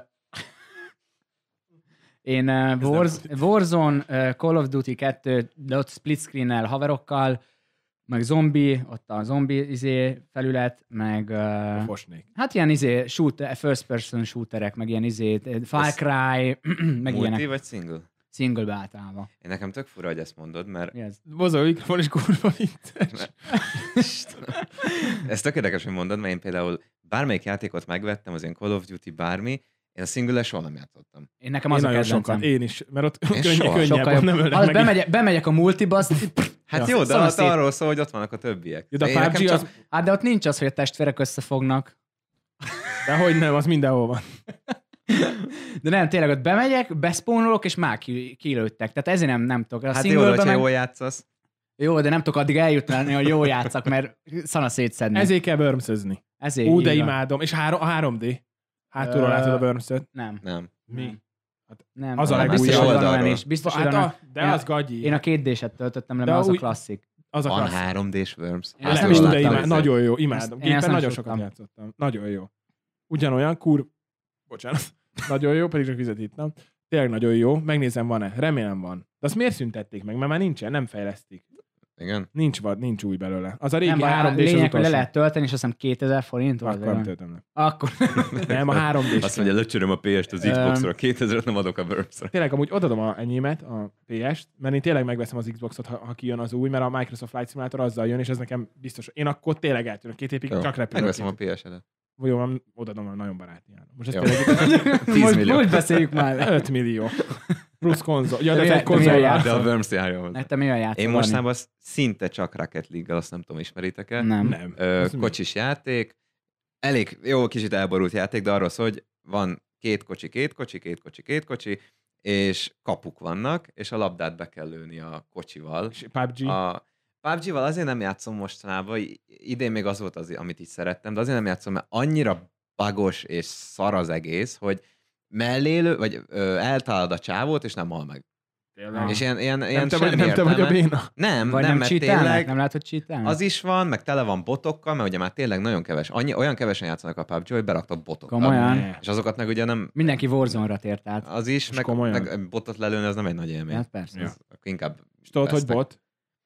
S3: én ö, Warz, Warzone, ö, Call of Duty 2, de ott split screen-nel haverokkal, meg zombi, ott a zombi izé felület, meg ö,
S1: Fosnék.
S3: hát ilyen izé shooter, first person shooterek, meg ilyen izé Far
S2: Ez
S3: Cry, meg
S2: Multi
S3: ilyenek
S2: vagy single?
S3: single általában.
S2: Én nekem tök fura, hogy ezt mondod, mert
S3: Mi ez?
S1: Bozol a mikrofon is kurva vicces.
S2: Istenem. Ez tök érdekes, hogy mondod, mert én például bármelyik játékot megvettem, az ilyen Call of Duty, bármi, én a single soha nem játszottam.
S3: Én nekem
S1: Én
S3: az a
S1: nagyon
S3: kedvencem.
S1: sokat, én is, mert ott könnyebb,
S2: soha.
S3: Sokkal
S1: könnyebb,
S3: jobb.
S1: nem
S3: Ha
S1: ölnek meg.
S3: bemegyek, bemegyek a multiba, azt,
S2: Hát
S1: Ja.
S2: jó, de az
S3: Szanaszét.
S2: arról szól, hogy ott vannak a többiek.
S1: Ja, de a
S2: Én nekem
S1: PUBG
S2: csak-
S1: az-
S3: hát de ott nincs az, hogy a testvérek összefognak.
S1: De hogy nem, az mindenhol van.
S3: De nem, tényleg ott bemegyek, beszpónolok, és már ki, kilőttek. Tehát ezért nem, nem tudok. A
S2: Hát
S3: hát
S2: jó, de
S3: singlebe
S2: hogyha
S3: meg...
S2: jól játszasz.
S3: Jó, de nem tudok addig eljutni, hogy jól játszak, mert szana szétszedni.
S1: Ezért kell börmszözni.
S3: ezért
S1: Ú,
S3: így
S1: de
S3: van.
S1: imádom. És három, a 3D. Hátulról
S3: Ö,
S1: látod a börmszöt.
S3: Nem,
S2: Nem.
S1: Mi? Hát
S3: nem.
S1: Az a
S3: nem,
S1: legújabb
S3: biztos, hogy van
S2: oldalról.
S3: olyan is. Biztos, hogy
S1: Hát
S3: van
S1: a, de
S3: Én a-
S1: az gagyi.
S3: Én a két D-set töltöttem le,
S1: De
S3: mert az a
S1: úgy-
S3: klasszik.
S1: az a
S2: Van
S1: klassz.
S2: 3D-s Worms.
S3: Én ezt nem
S1: Ú,
S3: is
S1: de
S2: Láttam
S3: láttam,
S1: imá-
S2: ezért.
S1: Nagyon jó, imádom.
S3: Ezt- én ezt
S1: Gépen
S3: nem
S1: nagyon
S3: is
S1: sokat
S3: tudtam.
S1: játszottam. Nagyon jó. Ugyanolyan kur... Bocsánat. Nagyon jó, pedig csak vizet ittam. Tényleg nagyon jó. Megnézem, van-e. Remélem van. De azt miért szüntették meg? Mert már nincsen, nem fejlesztik.
S2: Igen.
S1: Nincs vad, nincs új belőle. Az a régi
S3: Nem, a
S1: 3 d az
S3: lényeg, hogy le
S1: utolsó.
S3: lehet tölteni, és azt hiszem 2000 forint volt.
S1: Akkor nem
S3: vagy-
S1: töltöm le.
S3: Akkor.
S1: Nem, a 3 d
S2: Azt mondja, löcsöröm a PS-t az
S3: Öm.
S2: Xbox-ra, 2000 nem adok a Worms-ra.
S1: Tényleg amúgy odadom a enyémet, a PS-t, mert én tényleg megveszem az Xboxot, ha, ha kijön az új, mert a Microsoft Flight Simulator azzal jön, és ez nekem biztos. Én akkor tényleg eltűnök két évig,
S2: Jó.
S1: csak repülök.
S2: Megveszem a PS-edet.
S1: Vagy Jó, van, odadom, mert nagyon baráti áron. Most ez
S2: Jó.
S1: tényleg
S2: 10
S3: most,
S2: millió.
S3: most beszéljük már. le.
S1: 5 millió. Plusz konzol. Ja, de
S3: De mi-
S1: te
S3: de mi a
S1: konzol
S3: játék?
S2: De a Worms járja hozzá.
S3: Nektem mi a játszol?
S2: Én
S1: Szóval
S3: Dani?
S2: mostanában az szinte csak Rocket League-gal, azt nem tudom, ismeritek-e?
S3: Nem.
S1: Nem.
S2: Ö,
S1: Az mi?
S2: kocsis játék. Elég jó, kicsit elborult játék, de arról szól, hogy van két kocsi, két kocsi, két kocsi, két kocsi, és kapuk vannak, és a labdát be kell lőni a kocsival.
S1: És PUBG.
S2: A PUBG-val azért nem játszom mostanában, i- idén még az volt az, amit így szerettem, de azért nem játszom, mert annyira bagos és szar az egész, hogy mellélő, vagy ö, eltalálod a csávót, és nem hal meg.
S1: Tényleg.
S2: És ilyen, ilyen,
S1: Ah. nem,
S2: ilyen
S1: te vagy,
S2: semmi
S1: nem te vagy a
S2: értelme.
S1: béna.
S2: Nem,
S3: Vagy
S2: nem,
S3: nem,
S2: mert
S3: cheatelnek?
S2: tényleg,
S3: Nem látod
S1: Hm.
S3: cheatelnek?
S2: az is van, meg tele van botokkal, mert ugye már tényleg nagyon keves, annyi, olyan kevesen játszanak a PUBG, hogy beraktak botokat.
S3: Komolyan.
S1: Ne.
S2: És azokat meg ugye nem,
S3: Mindenki Warzone-ra tért át.
S2: az is,
S1: Most
S2: meg,
S1: komolyan.
S2: meg eh, botot lelőni, az nem egy nagy élmény.
S3: Hát persze.
S1: Ja.
S2: Ez Inkább
S1: És tudod, hogy
S2: vesznek.
S1: bot?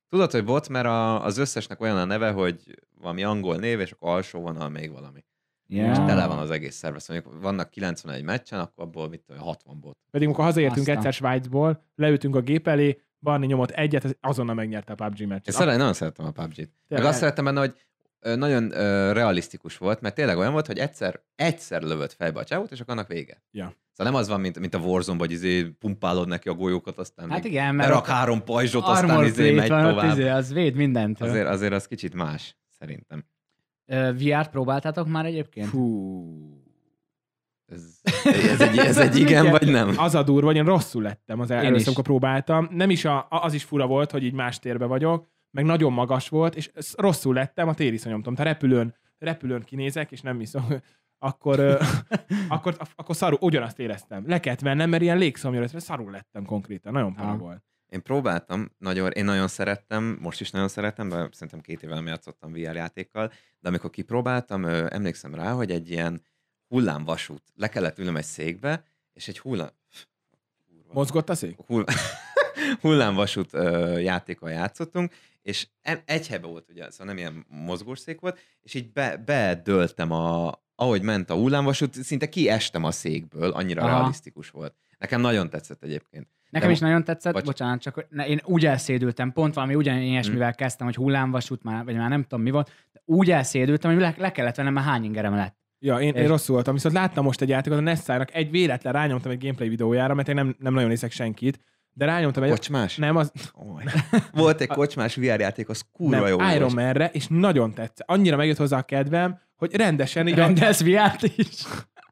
S2: Tudod, hogy bot, mert a, az összesnek olyan a neve, hogy valami angol név, és akkor alsó vonal még valami.
S3: Ja.
S2: És tele van az egész szerv. Szóval mondjuk vannak 91 meccsen, akkor abból mit tudom, 60 bot.
S1: Pedig amikor hazaértünk
S3: Aztán.
S1: egyszer Svájcból, leültünk a gép elé, Barni nyomott egyet, azonnal megnyerte a PUBG
S2: Én
S1: meccset.
S2: szeret, nagyon szerettem a PUBG-t. Meg azt szerettem benne, hogy ö, nagyon ö, realisztikus volt, mert tényleg olyan volt, hogy egyszer, egyszer lövött fejbe a csávót, és akkor annak vége.
S1: Ja.
S2: Szóval nem az van, mint, mint a Warzone, vagy izé pumpálod neki a golyókat, aztán
S3: Hát
S2: még
S3: igen, mert
S2: berak három pajzsot, aztán
S3: Armor
S2: izé megy
S3: Plate van, ott
S2: tovább.
S3: izé, az véd mindent.
S2: Azért, azért az kicsit más, szerintem.
S3: VR-t próbáltátok már egyébként?
S1: Fú.
S2: Ez, ez, egy, ez egy igen, vagy nem?
S1: Az a durva, hogy én rosszul lettem az el-
S3: Én
S1: először,
S3: is.
S1: amikor próbáltam. Nem is a, a- az is fura volt, hogy így más térbe vagyok, meg nagyon magas volt, és sz- rosszul lettem a tériszonyomtól. Tehát repülőn, repülőn kinézek, és nem iszom. Akkor, ö, akkor, akkor szarul, ugyanazt éreztem. Le kellett mennem, mert ilyen légszomja lett, mert szarul lettem konkrétan. Nagyon para
S3: Aha.
S1: volt.
S2: Én próbáltam, nagyon, én nagyon szerettem, most is nagyon szeretem, de szerintem két éve nem játszottam VR játékkal, de amikor kipróbáltam, ö, emlékszem rá, hogy egy ilyen hullámvasút, le kellett ülnöm egy székbe, és egy hullám...
S1: Mozgott a szék?
S2: hull... hullámvasút ö, játékkal játszottunk, és em- egy helyben volt, ugye, szóval nem ilyen mozgószék volt, és így be, bedöltem a, ahogy ment a hullámvasút, szinte kiestem a székből, annyira
S3: Aha.
S2: realisztikus volt. Nekem nagyon tetszett egyébként.
S3: Nekem
S2: De-
S3: is nagyon tetszett,
S2: bocs.
S3: Bocs. bocsánat, csak hogy ne, én úgy elszédültem, pont valami ugyan ilyesmivel
S2: Hm.
S3: kezdtem, hogy hullámvasút már, vagy már nem tudom mi volt, de úgy elszédültem, hogy le, le kellett vennem, mert hány ingerem lett.
S1: Ja, én, én
S3: És-
S1: rosszul voltam, viszont láttam most egy játékot, a Nessának egy véletlen rányomtam egy gameplay videójára, mert én nem, nem nagyon nézek senkit, de rányomtam egy...
S2: Kocsmás?
S1: Nem, az
S2: Oly. Volt egy kocsmás VR játék, az kurva
S1: nem,
S2: jó
S1: Iron
S2: volt.
S1: Man-re, és nagyon tetszett. Annyira megjött hozzá a kedvem, hogy rendesen így a
S3: Rendelsz viát is?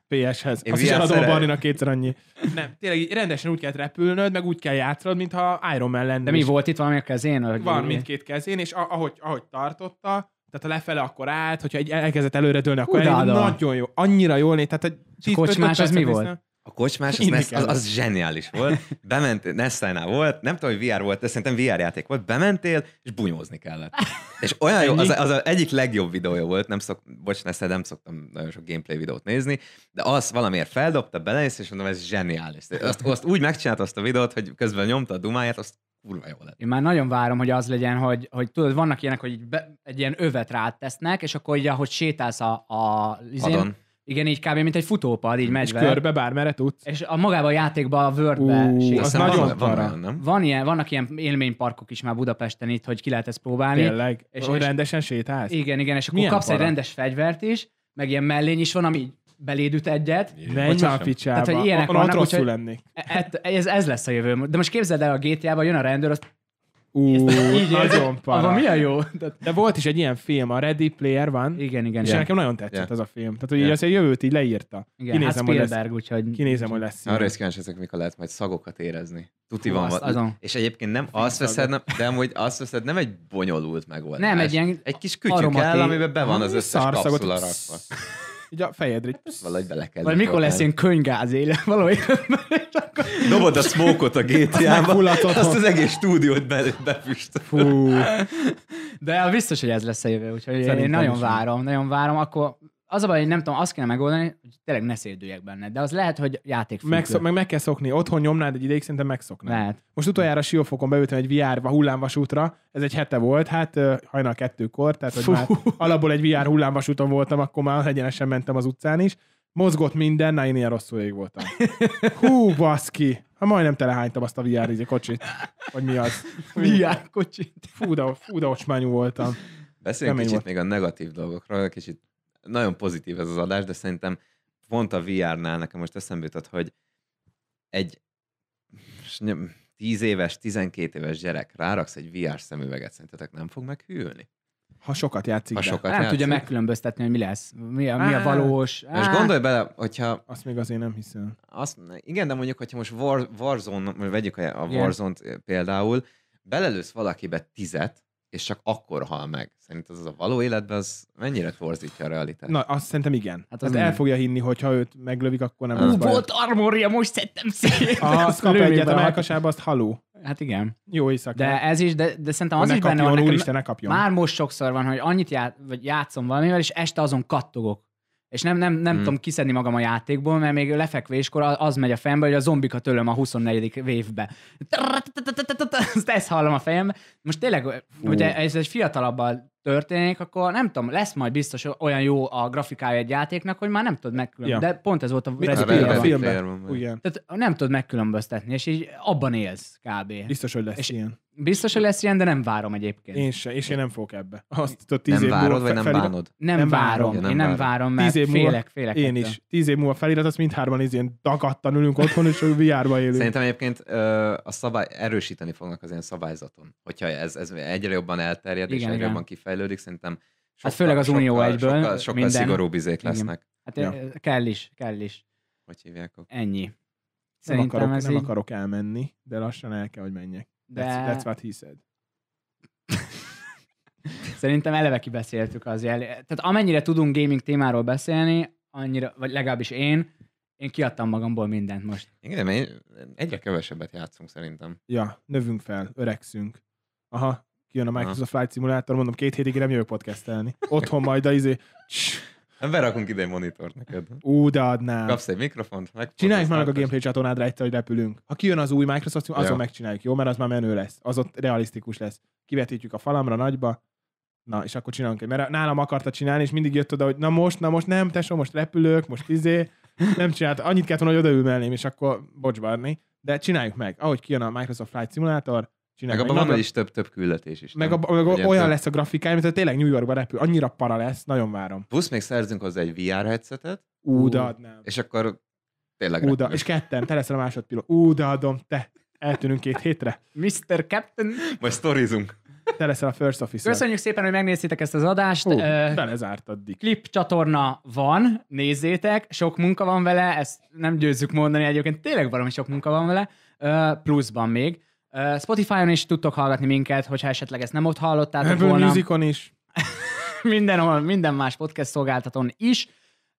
S1: PS-hez.
S2: Én
S1: Azt is
S2: VR
S1: eladom a
S2: szerelem.
S1: Barninak kétszer annyi. Nem, tényleg így rendesen úgy kell repülnöd, meg úgy kell játszod, mintha Iron Man lennél.
S3: De mi
S1: És
S3: volt itt valami a kezén? Hogy
S1: Van mindkét kezén, és a- ahogy, ahogy tartotta, tehát a lefele akkor állt, hogyha egy elkezdett előre dőlni, akkor
S3: Hú, de
S1: elég,
S3: ada.
S1: nagyon jó, annyira jól néz. Tehát egy 10-15
S3: kocsmás az mi
S1: percet
S3: volt?
S1: néztem.
S2: A kocsmás, az,
S1: Inni
S2: Ness, az,
S1: kellett.
S2: az zseniális volt. Bement, Nessánál volt, nem tudom, hogy VR volt, de szerintem VR játék volt. Bementél, és bunyózni kellett. És olyan jó,
S1: Ennyi?
S2: az, az, az egyik legjobb videója volt, nem szok, bocs, Nessel, nem szoktam nagyon sok gameplay videót nézni, de az valamiért feldobta, belenéz, és mondom, ez zseniális. Azt, azt úgy megcsinálta azt a videót, hogy közben nyomta a dumáját, azt kurva jó lett.
S3: Én már nagyon várom, hogy az legyen, hogy, hogy tudod, vannak ilyenek, hogy így be, egy ilyen övet rád tesznek, és akkor így, ahogy sétálsz a, a
S2: Adon.
S3: izén, igen, így kb. mint egy futópad, így megy
S1: És
S3: vele.
S1: körbe bármerre tudsz.
S3: És a magába a játékba, a
S1: Ú,
S3: Wordbe sétál.
S1: az
S2: Aztán
S1: nagyon
S2: van, van
S1: para.
S2: olyan, nem?
S3: Van ilyen, vannak ilyen élményparkok is már Budapesten itt, hogy ki lehet ezt próbálni.
S1: Tényleg. És,
S3: és-
S1: hogy
S3: és-
S1: rendesen sétálsz.
S3: Igen, igen, és akkor
S1: Milyen
S3: kapsz
S1: para?
S3: egy rendes fegyvert is, meg ilyen mellény is van, ami így beléd üt egyet.
S1: Menj már a picsába.
S3: Tehát, hogy ilyenek
S1: Onnan ott
S3: vannak,
S1: rosszul
S3: úgyhogy-
S1: lennék.
S3: Et, ez, ez lesz a jövő. De most képzeld el, a GTA-ba jön a rendőr, az
S1: Ú, nagyon para.
S3: Abban mi a jó? Tehát,
S1: De volt is egy ilyen film, a Ready Player van, és
S3: igen, igen.
S1: yeah.
S3: igen.
S1: nekem nagyon tetszett
S2: Yeah.
S1: yeah. az a film. Tehát, hogy yeah.
S2: Yeah.
S1: így azt a jövőt így leírta.
S3: igen. hát
S1: kinézem, hogy lesz-
S3: Spielberg, úgyhogy...
S1: Kinézem, hogy lesz
S2: Arra
S1: ilyen.
S2: is kíváncsi ezek, mikor lehet majd szagokat érezni. Tuti
S3: Hú,
S2: van.
S3: Hm. azt
S2: Azt,
S3: azon.
S2: És egyébként nem azt veszed, nem, de amúgy azt veszed, nem egy bonyolult megoldás.
S3: Nem, egy ilyen
S2: Egy kis kütyű
S3: aromaté-
S2: kell, amiben be van az
S1: Valami
S2: összes
S1: szarszagot,
S2: kapszula
S1: hogy
S2: rakva.
S1: Így a fejedre. így-
S2: Valahogy bele kell.
S3: Vagy mikor
S2: juttatni.
S3: lesz ilyen könygáz éle, valahogy.
S2: Dobod a smoke-ot a GTA-ba,
S1: megfulladt otthon.
S2: azt az egész stúdiót be, befüstöd.
S1: Fú,
S3: De a biztos, hogy ez lesz a jövő, úgyhogy
S1: Szerintem
S3: én nagyon
S1: is.
S3: várom, nagyon várom. Akkor az a baj, hogy nem tudom, azt kéne megoldani, hogy tényleg ne szédüljek benne. De az lehet, hogy játék
S1: megszok, meg meg kell szokni. Otthon nyomnád egy ideig, szerintem megszoknád.
S3: Lehet.
S1: Most utoljára Siófokon beültem egy VR hullámvasútra, ez egy hete volt, hát ö, hajnal kettőkor, tehát hogy
S3: Fú.
S1: már alapból egy VR hullámvasúton voltam, akkor már egyenesen mentem az utcán is. Mozgott minden, na én ilyen rosszul ég voltam. Hú, baszki! Ha majdnem telehánytam azt a VR izé kocsit. Vagy mi az?
S3: VR kocsit.
S1: Fú, de, fú, de ocsmányú voltam.
S2: Beszéljünk
S1: Kemény
S2: kicsit
S1: volt.
S2: még a negatív dolgokról, kicsit nagyon pozitív ez az adás, de szerintem pont a VR-nál nekem most eszembe jutott, hogy egy s- nem, 10 éves, 12 éves gyerek ráraksz egy VR szemüveget, szerintetek nem fog meghűlni?
S1: Ha sokat játszik,
S2: Ha
S1: de.
S2: sokat
S3: Nem
S2: játszik.
S3: tudja megkülönböztetni, hogy mi lesz. Mi a, mi a
S1: Á.
S3: valós.
S2: Na, És gondolj bele, hogyha
S1: Azt még azért nem hiszem.
S2: azt, igen, de mondjuk, hogyha most War, Warzone, vagy vegyük a a
S3: Igen.
S2: Warzone-t eh, például, belelősz valakibe tizet, és csak akkor hal meg. Szerintem az a való életben az mennyire torzítja a realitást.
S1: Na, azt szerintem igen. Hát az
S3: az
S1: hát
S3: nem.
S1: el fogja hinni, hogy ha őt meglövik, akkor nem
S2: Ú,
S1: lesz
S3: Ú,
S1: baj.
S3: volt armoria, most szedtem szét.
S1: Ha azt kap
S3: Lőni
S1: egyet a
S3: bele.
S1: melkasába, azt haló.
S3: Hát igen.
S1: Jó éjszaka.
S3: De ez is, de, de szerintem az
S1: ne
S3: is benne
S1: kapjon,
S3: van. nekem-
S1: úristen, ne kapjon.
S3: Már most sokszor van, hogy annyit já- vagy játszom valamivel, és este azon kattogok. És nem, nem, nem
S2: Mm.
S1: Hmm.
S3: tudom kiszedni magam a játékból, mert még lefekvéskor a- az megy a fejembe, hogy a zombikat ölöm a 24. wave-be. Ezt hallom a fejembe. Most tényleg, ugye ez egy fiatalabbal történik, akkor nem tudom, lesz majd biztos olyan jó a grafikája egy játéknak, hogy már nem tudod megkülönböztetni.
S1: Ja.
S3: De pont ez volt a
S1: Mit
S2: Ready
S1: a
S3: Ready
S2: Player
S1: film-
S3: Player-ban.
S2: Ready
S1: filmben?
S2: Player van, vagy?
S1: Igen.
S3: Tehát nem tudod megkülönböztetni, és így abban élsz kb.
S1: Biztos, hogy lesz
S3: És-
S1: ilyen.
S3: Biztos, hogy lesz ilyen, de nem várom egyébként.
S1: Én se, és én nem fogok ebbe. Azt tudod, tíz
S2: Nem
S1: év múlva
S2: várod, vagy
S1: fe-
S2: nem
S1: felirat-
S2: bánod?
S1: Nem
S3: Nem, nem
S1: várom.
S3: várom,
S2: Ja,
S3: várom.
S2: nem
S3: én nem
S2: várom.
S3: várom, mert
S1: Tíz év múlva
S3: félek, félek.
S1: Én
S3: ettől.
S1: is. Tíz év múlva felirat, azt mindhárman így ilyen dagadtan ülünk otthon, és a VR-ba élünk.
S2: Szerintem egyébként ö, a szabály, erősíteni fognak az ilyen szabályzaton. Hogyha ez, ez egyre jobban elterjed, igen, és
S3: Igen,
S2: egyre
S3: igen.
S2: jobban kifejlődik, szerintem sokkal,
S3: főleg az Unió
S2: sokkal,
S3: egyből
S2: sokkal, sokkal
S3: minden.
S2: szigorúbb izék
S3: Igen.
S2: lesznek.
S3: Hát
S1: Ja.
S3: ja. kell is, kell is.
S2: Hogy hívják? a-
S3: Ennyi.
S1: nem
S3: Szerintem
S1: akarok,
S3: ez
S1: nem
S3: így,
S1: akarok elmenni, de lassan el kell, hogy menjek.
S3: de
S1: That's, that's what he said.
S3: szerintem eleve kibeszéltük az jel. Tehát amennyire tudunk gaming témáról beszélni, annyira, vagy legalábbis én, én kiadtam magamból mindent most.
S2: Igen, mert én- egyre kevesebbet játszunk szerintem.
S1: Ja, növünk fel, öregszünk. Aha, kijön a
S2: Aha.
S1: Microsoft Flight Simulator, mondom, két hétig nem jövök podcastelni. Otthon majd a izé,
S2: Nem Hát berakunk ide egy monitort neked.
S1: ú, de adnám.
S2: Kapsz egy mikrofont, meg...
S1: Csináljuk már Hát. meg a gameplay csatornádra egyszer, hogy repülünk. Ha kijön az új Microsoft Simulator, azon
S2: Ja.
S1: megcsináljuk, jó? Mert az már menő lesz. Az ott realisztikus lesz. Kivetítjük a falamra, nagyba, Na, és akkor csinálunk egy, mert nálam akarta csinálni, és mindig jött oda, hogy na most, na most nem, tesó, most repülök, most izé, nem csinált, annyit kellett volna, hogy odaül mellém, és akkor bocsbarni. De csináljuk meg, ahogy kijön a Microsoft Flight Simulator,
S2: Meg
S1: csináljuk
S2: abban van,
S1: nagyot.
S2: hogy is több-több küldetés is.
S1: Meg,
S2: nem?
S1: a, meg
S2: Ugye
S1: olyan
S2: több-
S1: lesz a grafikája, mint hogy tényleg New Yorkba repül. Annyira para lesz, nagyon várom.
S2: Plusz még szerzünk hozzá egy VR headsetet,
S1: Ú,
S3: Ú.
S1: de adnám.
S2: és akkor tényleg...
S1: Ú, de,
S2: repülünk.
S1: és ketten, te leszel a másodpilót. Ú, de adom, te. Eltűnünk két hétre.
S3: Mr. Captain,
S2: Majd sztorizunk.
S1: Te leszel a first officer.
S3: köszönjük szépen, hogy megnéztétek ezt az adást.
S1: Hú,
S3: Ö,
S1: belezártad, Dick.
S3: klip csatorna van, nézzétek, sok munka van vele, ezt nem győzzük mondani egyébként, tényleg valami sok munka van vele, ö, pluszban még. Ö, Spotify-on is tudtok hallgatni minket, hogyha esetleg ezt nem ott hallottátok
S1: Apple
S3: volna.
S1: Musicon is.
S3: Mindenhol, minden más podcast szolgáltatón is,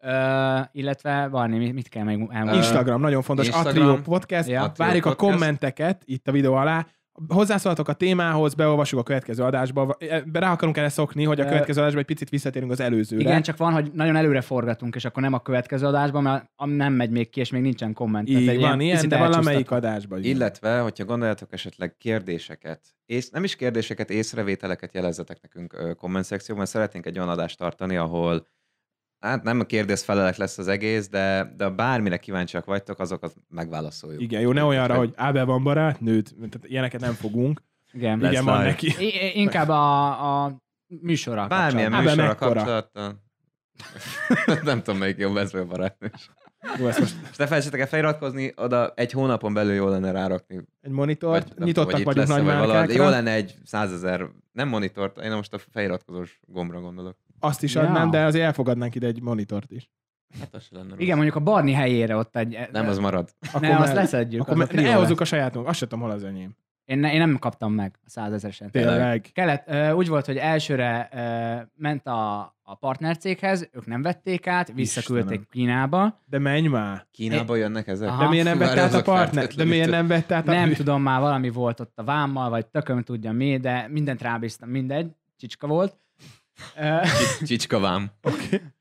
S3: ö, illetve valami, mit- mit kell még elmondani?
S1: Instagram, nagyon fontos.
S2: Instagram.
S1: Atrio Podcast.
S3: Ja.
S2: Atrio
S1: Várjuk a
S2: Podcast.
S1: kommenteket itt a videó alá. Hozzászóltok a témához, beolvassuk a következő adásba. e, Rá akarunk erre szokni, hogy a
S3: Ö,
S1: következő adásban egy picit visszatérünk az előzőre.
S3: Igen, csak van, hogy nagyon előre forgatunk, és akkor nem a következő adásban, mert am- nem megy még ki, és még nincsen komment. Tehát
S1: Így
S3: egy
S1: van, ilyen,
S3: picit
S1: de valamelyik
S3: elcsúsztató.
S1: adásban. igen.
S2: Illetve, hogyha gondoljátok esetleg kérdéseket, és nem is kérdéseket, észrevételeket jelezzetek nekünk ö, komment szekcióban, mert szeretnénk egy olyan adást tartani, ahol hát nem a kérdésfelelek lesz az egész, de, de bármire kíváncsiak vagytok, azokat megválaszoljuk.
S1: Igen, jó, ne olyanra,
S2: Tehát-
S1: hogy Ábel van barát, nőd, tehát ilyeneket nem fogunk.
S3: Igen.
S2: Lesz
S1: Igen, van
S2: live.
S1: neki.
S3: I- I- inkább a, a műsorral
S2: Bármilyen
S1: Ábel
S2: műsorra
S1: mekkora?
S2: kapcsolatban. nem tudom, melyik jobb ez, vagy a barátnős.
S1: Jó, ezt most
S2: És ne felejtsetek el feliratkozni, oda egy hónapon belül jól lenne rárakni.
S1: egy monitort,
S2: nem
S1: nyitottak
S2: tudom, hogy
S1: vagyunk
S2: itt lesz-e,
S1: nagy
S2: vagy valahogy. Jó
S1: márkákra,
S2: lenne egy százezer, nem monitort, én most a feliratkozós gombra gondolok.
S1: azt is
S3: Ja.
S1: adnám, de azért elfogadnánk ide egy monitort is.
S2: Hát az se lenne
S3: Igen,
S2: rossz.
S3: mondjuk a Barni helyére ott egy... e,
S2: Nem, az marad.
S1: Akkor
S3: ne,
S1: me-
S3: azt leszedjük.
S1: Akkor
S3: az a
S1: me- ne,
S3: trió
S1: elhozzuk a
S3: lesz.
S1: sajátunk, azt sem tudom, hol az enyém.
S3: Én, ne, én nem kaptam meg a százezeresen.
S1: Tényleg.
S3: Kellett, ö, úgy volt, hogy elsőre ö, ment a, a partnercéghez, ők nem vették át, visszaküldték
S1: Istenem.
S3: Kínába.
S1: De menj már!
S2: Kínába jönnek ezek?
S3: Aha.
S1: De miért nem
S2: Fú,
S1: vett
S2: erre
S1: át a
S2: azok
S1: partner? De
S2: feltétlenül
S1: miért
S2: tök-
S1: nem vett át Hát a...
S3: nem tudom már, valami volt ott a vámmal, vagy tököm tudja mi, de mindent rábíztam, mindegy, csicska volt. Ö,
S2: Csics- Csicskavám.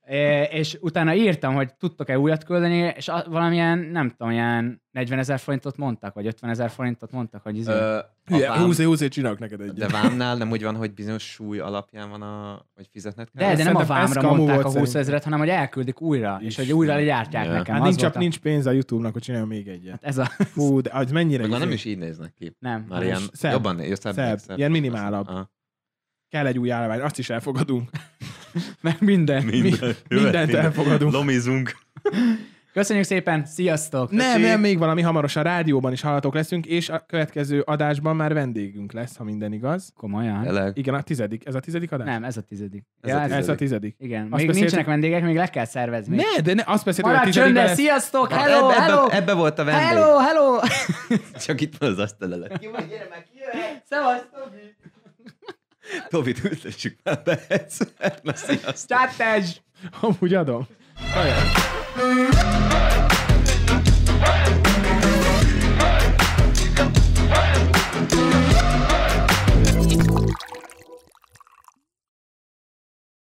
S3: É, és utána írtam, hogy tudtok-e újat küldeni, és a, valamilyen, nem tudom, ilyen 40 ezer forintot mondtak, vagy 50 ezer forintot mondtak, hogy izé.
S2: Ö, a
S1: Hülye,
S2: vám,
S1: húzé, húzé, csinálok neked
S2: de
S1: egyet. Hát
S2: vámnál nem úgy van, hogy bizonyos súly alapján van a... hogy fizetned kell?
S3: de, de nem
S1: szerintem
S3: a
S1: ez
S3: vámra
S1: kamu
S3: mondták
S1: volt
S3: a 20
S1: szerintem.
S3: ezeret, hanem hogy elküldik újra, és
S1: Isten.
S3: hogy újra legyártják
S2: Ja.
S3: nekem.
S1: Hát
S3: az
S1: nincs, csak
S3: volt a-
S1: nincs pénz a YouTube-nak, hogy csináljon még egyet.
S3: Hát Ez a...
S1: Fú, de az mennyire
S2: Meg már
S1: izé.
S2: nem is így néznek ki.
S3: Nem.
S2: Már
S1: Nem
S2: ilyen
S1: is. Szebb.
S2: jobban jó, szebb,
S1: Szebb. Ilyen minimálabb.
S2: Aha.
S1: kell egy új állvány, azt is elfogadunk.
S3: Meg minden.
S1: mindent elfogadunk.
S2: Lomizunk.
S3: Köszönjük szépen, sziasztok!
S1: Nem,
S2: Köszi.
S1: nem, még valami hamarosan rádióban is hallhatók leszünk, és a következő adásban már vendégünk lesz, ha minden igaz.
S3: Komolyan?
S2: Tényleg.
S1: Igen, a tizedik. Ez a tizedik adás?
S3: Nem, ez a tizedik.
S2: Ez
S3: Ja,
S2: a tizedik.
S1: Ez a tizedik.
S3: Igen,
S1: Azt
S3: még
S1: beszéltük-
S3: nincsenek vendégek, még le kell szervezni.
S1: Ne, de ne, azt beszéltük, hogy a
S3: Maradj
S1: tizedik
S3: csöndben,
S1: lesz.
S3: sziasztok!
S2: Na,
S3: Hello,
S2: ebbe,
S3: hello!
S2: Ebbe, ebbe volt a vendég.
S3: Hello, hello!
S2: Csak itt van az asztalelet.
S3: Szevasz!
S2: Tobit ültessük már be egyszer. Na, sziasztok.
S3: Csátás!
S1: Amúgy adom.
S2: Ajaj.